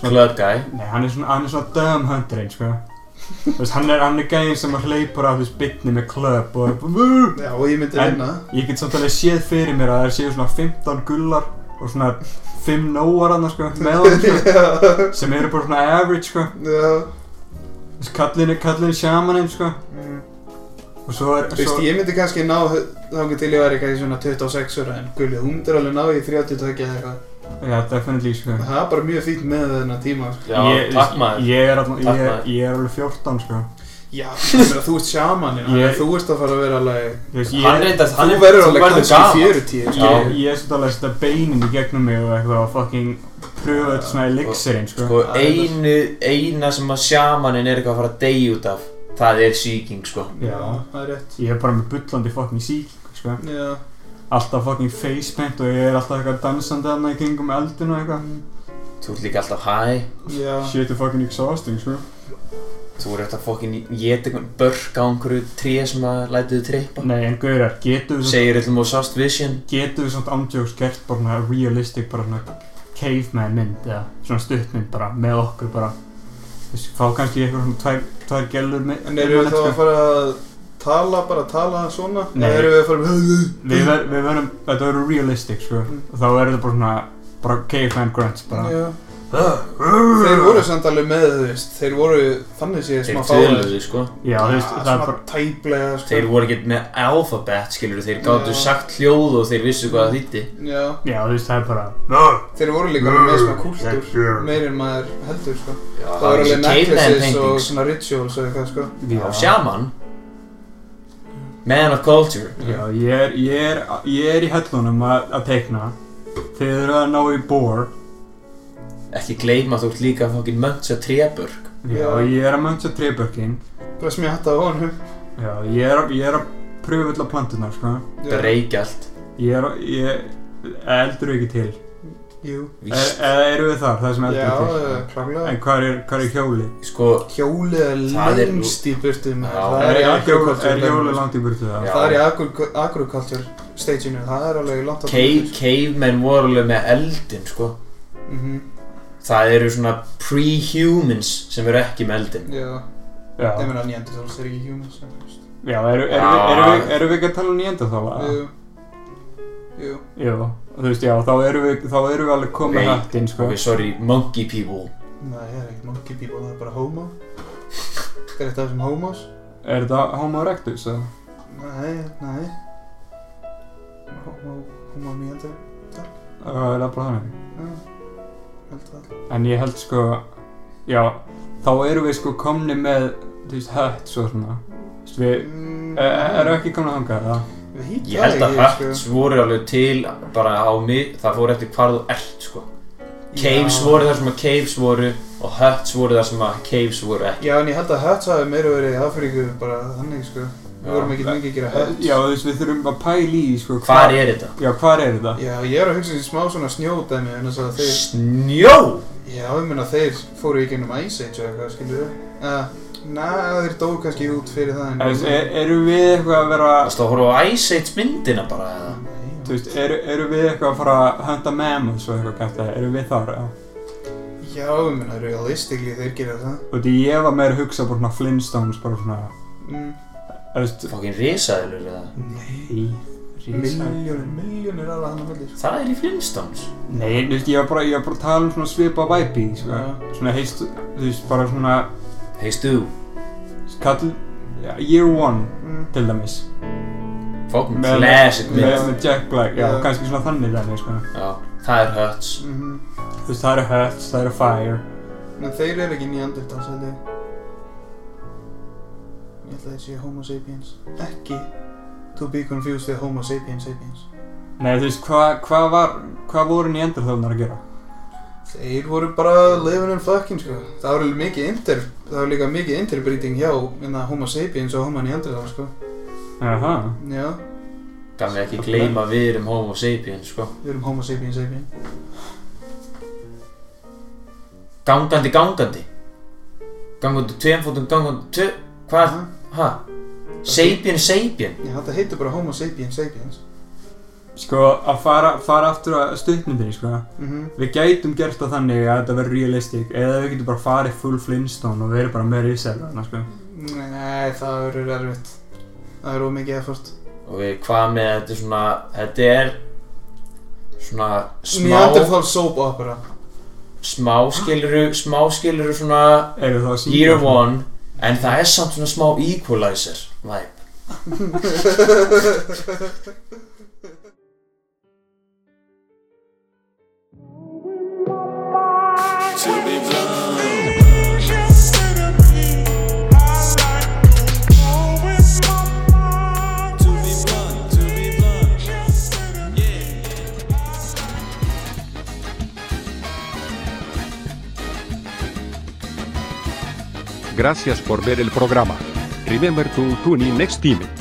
S6: Club guy
S4: Nei, hann er svona, hann er svona dumb hunter einn,
S3: [LAUGHS]
S4: sko Þú veist, hann er, hann er gæðin sem að hleypur á þessu bitni með klöp og
S3: Já, og ég myndi
S4: En-
S3: vinna. [LAUGHS]
S4: Ég get samt alveg séð fyrir mér að það séu svona 15 gullar og svona 5 nóar annars, sko, með hann, sko
S3: Já,
S4: sem eru bara svona average, sko
S3: já.
S4: Þú veist, kallin er, kallin er shamaninn, sko
S3: Mm.
S4: og svo er,
S3: Þú
S4: svo,
S3: veist, ég myndi kannski ná þangað til ég væri kannski svona 26 ára, en gulli, hún myndir alveg ná í 32 eða eitthvað.
S4: já, definitely, sko
S3: Það er bara mjög fínt með þennan tíma, sko.
S6: Já,
S4: ég,
S6: takk maður
S4: ég er, allan,
S6: Takk,
S4: ég,
S6: maður.
S4: ég er alveg 14 sko
S3: Já, ég meina, þú ert sjamaninn,
S4: Ég-
S3: yeah. þú ert að fara að vera alveg,
S4: Þú veist, ég,
S6: Hann reyndar, hann
S3: þú
S6: er,
S3: verður alveg
S6: verður
S3: kannski
S6: gamall
S3: 40, sko.
S4: ég, ég er svolítið alveg að setja beinin í gegnum mig og eitthvað og fucking pröfa þetta svona elixirinn sko
S6: Sko, einu, eina sem að sjamaninn er eitthvað að fara að deyja út af Það er sýking, sko
S4: já,
S3: það er rétt.
S4: ég er bara með bullandi fucking sík sko
S3: Já,
S4: alltaf fucking facepent og ég er alltaf eitthvað dansandi þarna í kringum eldin og eitthvað
S6: Þú ert líka alltaf high
S3: já.
S4: shit er fucking exhausting sko
S6: Þú ert að fokkin geta einhvern börk á einhverju tré sem að lætu þið trippa
S4: nei en gaurar, getur við
S6: Segir eitthvað múið sást vision
S4: getur við svona andjóks gert bara svona realistic bara svona caveman mynd eða svona stuttmynd bara með okkur bara þú veist, fá kannski eitthvað svona tvær, tvær gellur með
S3: En eru við þá að fara að tala, bara að tala svona?
S4: Nei.
S3: Eða eru við að fara að...
S4: Við, ver, við verðum, þetta verður realistic sko
S3: Mm.
S4: og þá verður þetta bara svona bara caveman grunts bara
S3: Já. Þeir voru samt alveg með þú veist Þeir voru þannig séð smá
S6: Þeir
S3: fáið
S6: töluðu, sko
S4: Já, þú veist, það er
S3: Smá
S4: bara
S3: tæplega sko.
S6: Þeir voru ekkert með alphabet, skilur Þeir gáttu
S3: Já.
S6: sagt hljóð og þeir vissu hvað það þýtti
S3: Já,
S4: Já, þú veist, það er bara
S3: þeir voru líka alveg með smá kúltúr Meir en maður heldur sko
S6: Ah,
S3: Það voru alveg necklaces og svona rituals og eitthvað sko
S6: Á sjaman Man of culture
S4: Já, ég er, ég er, ég er í hellunum að að teikna Þið eru að ná í bor
S6: Ekki gleyma að þú ert líka fokkin möntsa trébörk
S4: Já,
S3: Já.
S4: ég er að mönsa trébörkin
S3: Bara smjátt á honum
S4: Já, ég er, að- ég er að pröfa öll að plantunar, sko
S3: Já.
S6: Breykja allt
S4: Ég er, að- ég eldur ekki til
S3: Jú
S4: Er-
S6: Víst
S4: Eða eru við þar, það sem
S3: Já,
S4: eldur ekki til
S3: eh, klárlega
S4: En hvað er, hvað er hjóli?
S3: Eh,
S6: Sko,
S3: Hjólið
S6: Það
S3: er
S6: er-
S3: lengst í burtu maður.
S6: Já.
S3: Það er í
S4: hjól-
S3: agriculture
S4: er hjóli
S3: dæmi, sko.
S4: langt í burtu það?
S6: Já.
S3: Það er í agri- agriculture stageinu Það er alveg langt á
S6: cave, cavemen voru alveg með eldin, sko
S3: Mhm,
S6: Það eru svona pre-humans sem eru ekki með eldin
S3: Já,
S4: Já.
S3: ég meina nýjandi þá er ekki humans en, þú veist.
S4: Já, eru er, er, er, er, er við ekki að tala um nýjenda þá?
S3: Jú. Jú.
S4: Jú, þú veist, já, þá erum við, þá erum við alveg komið
S6: Nei.
S4: hægt inn, sko.
S6: Ok, sorry, monkey people
S3: Nei, það er ekki monkey people, það er bara homo. Er þetta þessum homos?
S4: Er þetta homo erectus eða?
S3: Nei, nei. Homo, homo mjöndur.
S4: Eða er það bara þannig?
S3: Já, held að.
S4: En ég held sko, já, þá erum við sko komni með, þú veist, hött svo svona. Þú veist, við,
S3: Mm,
S4: e- e- erum við ekki komni að hanga það?
S3: Við hýttum
S6: Ég held að Huts
S4: sko-
S6: voru alveg til bara á mig, það fór eftir hvar þú ert sko Caves voru þar sem að caves voru og Huts voru þar sem að caves voru ekki
S3: Já, en ég held að Huts hafi meira verið í Afríku bara þannig, sko. Við
S6: Já. Eh,
S3: vorum ekkert mikið að gera Huts.
S4: Já, þú veist, við þurfum að pæla í, sko,
S6: Hvar er þetta?
S4: Já, hvar er þetta?
S3: Já, ég er að hugsa þessi smá svona snjódæmi, en þess að þeir...
S6: Snjó!
S3: Já, ég meina þeir fóru í gegnum Ice Age eða eitthvað, skilur við? Uh, na, þeir dóu kannski út fyrir það en...
S6: Mm.
S4: Þú veist, er, erum við eitthvað að vera,
S6: Varstu að horfa á Ice Age myndina bara eða?
S4: þú veist, er, erum við eitthvað að fara að hönda mammals og eitthvað kæft það? Erum við þar, já?
S3: Já, ég meina, realistically þeir gera það.
S4: Og því ég var meira að hugsa bara svona Flintstones, bara svona,
S3: Mm.
S4: þú veist,
S6: Fokkin risaðilur eða?
S4: nei, rísa.
S3: Miljónir, miljónir ára hann að velja,
S6: Það er í Flintstones
S4: Nei, þú veist, ég var bara, ég var bara að tala um svona svipa væpi, sko. Svona heist, þú veist, bara svona,
S6: Heistu þú?
S4: kall, ja, year one,
S3: Mm.
S4: til dæmis.
S6: Fokkin
S4: Með-
S6: classic
S4: Með,
S6: mynd
S4: með Jack Black, já,
S3: Já.
S4: kannski svona þannig þannig, sko.
S6: Já, það er Huts
S3: Mhm.
S4: Þú veist, það eru Huts, það eru Fire.
S3: En þeir eru ekki Neanderthals, held ég. Ég held að þeir séu Homo sapiens. Ekki to be confused with Homo sapiens sapiens.
S4: Nei, þú veist, hvað hva var, hvað voru Neanderthalnar að gera?
S3: Þeir voru bara living in fucking, sko. Það var alveg mikið inter... Það var líka mikið interbreeding hjá minna, Homo sapiens og Homo Neanderthals, sko.
S4: Aha.
S3: Já,
S6: Gamlega ekki gleyma að við erum homo sapiens sko
S3: við erum Homo sapiens sapiens.
S6: Gangandi, gandi Gangandi tveim fótum, gangandi tvö Hvað?
S3: Aha.
S6: Hæ? Sapien, sapien
S3: Já, þetta heitir bara Homo sapiens sapiens.
S4: Sko, að fara, fara aftur að stuttmyndinni, sko.
S3: Mhm.
S4: Við gætum gert það þannig að þetta verður realistic, eða við getum bara farið full Flintstone og verið bara með risaðlarna, sko.
S3: Nei, það verður erfitt. Það er ómikið effort.
S6: Og við hvað með þetta er svona Þetta er Svona smá
S3: Neanderthal soap opera.
S6: Smá skiluru, smá skiluru svona
S4: Eru það að sína?
S6: Year one En það er samt svona smá equalizer Væp
S1: Gracias por ver el programa. Remember to tune in next time.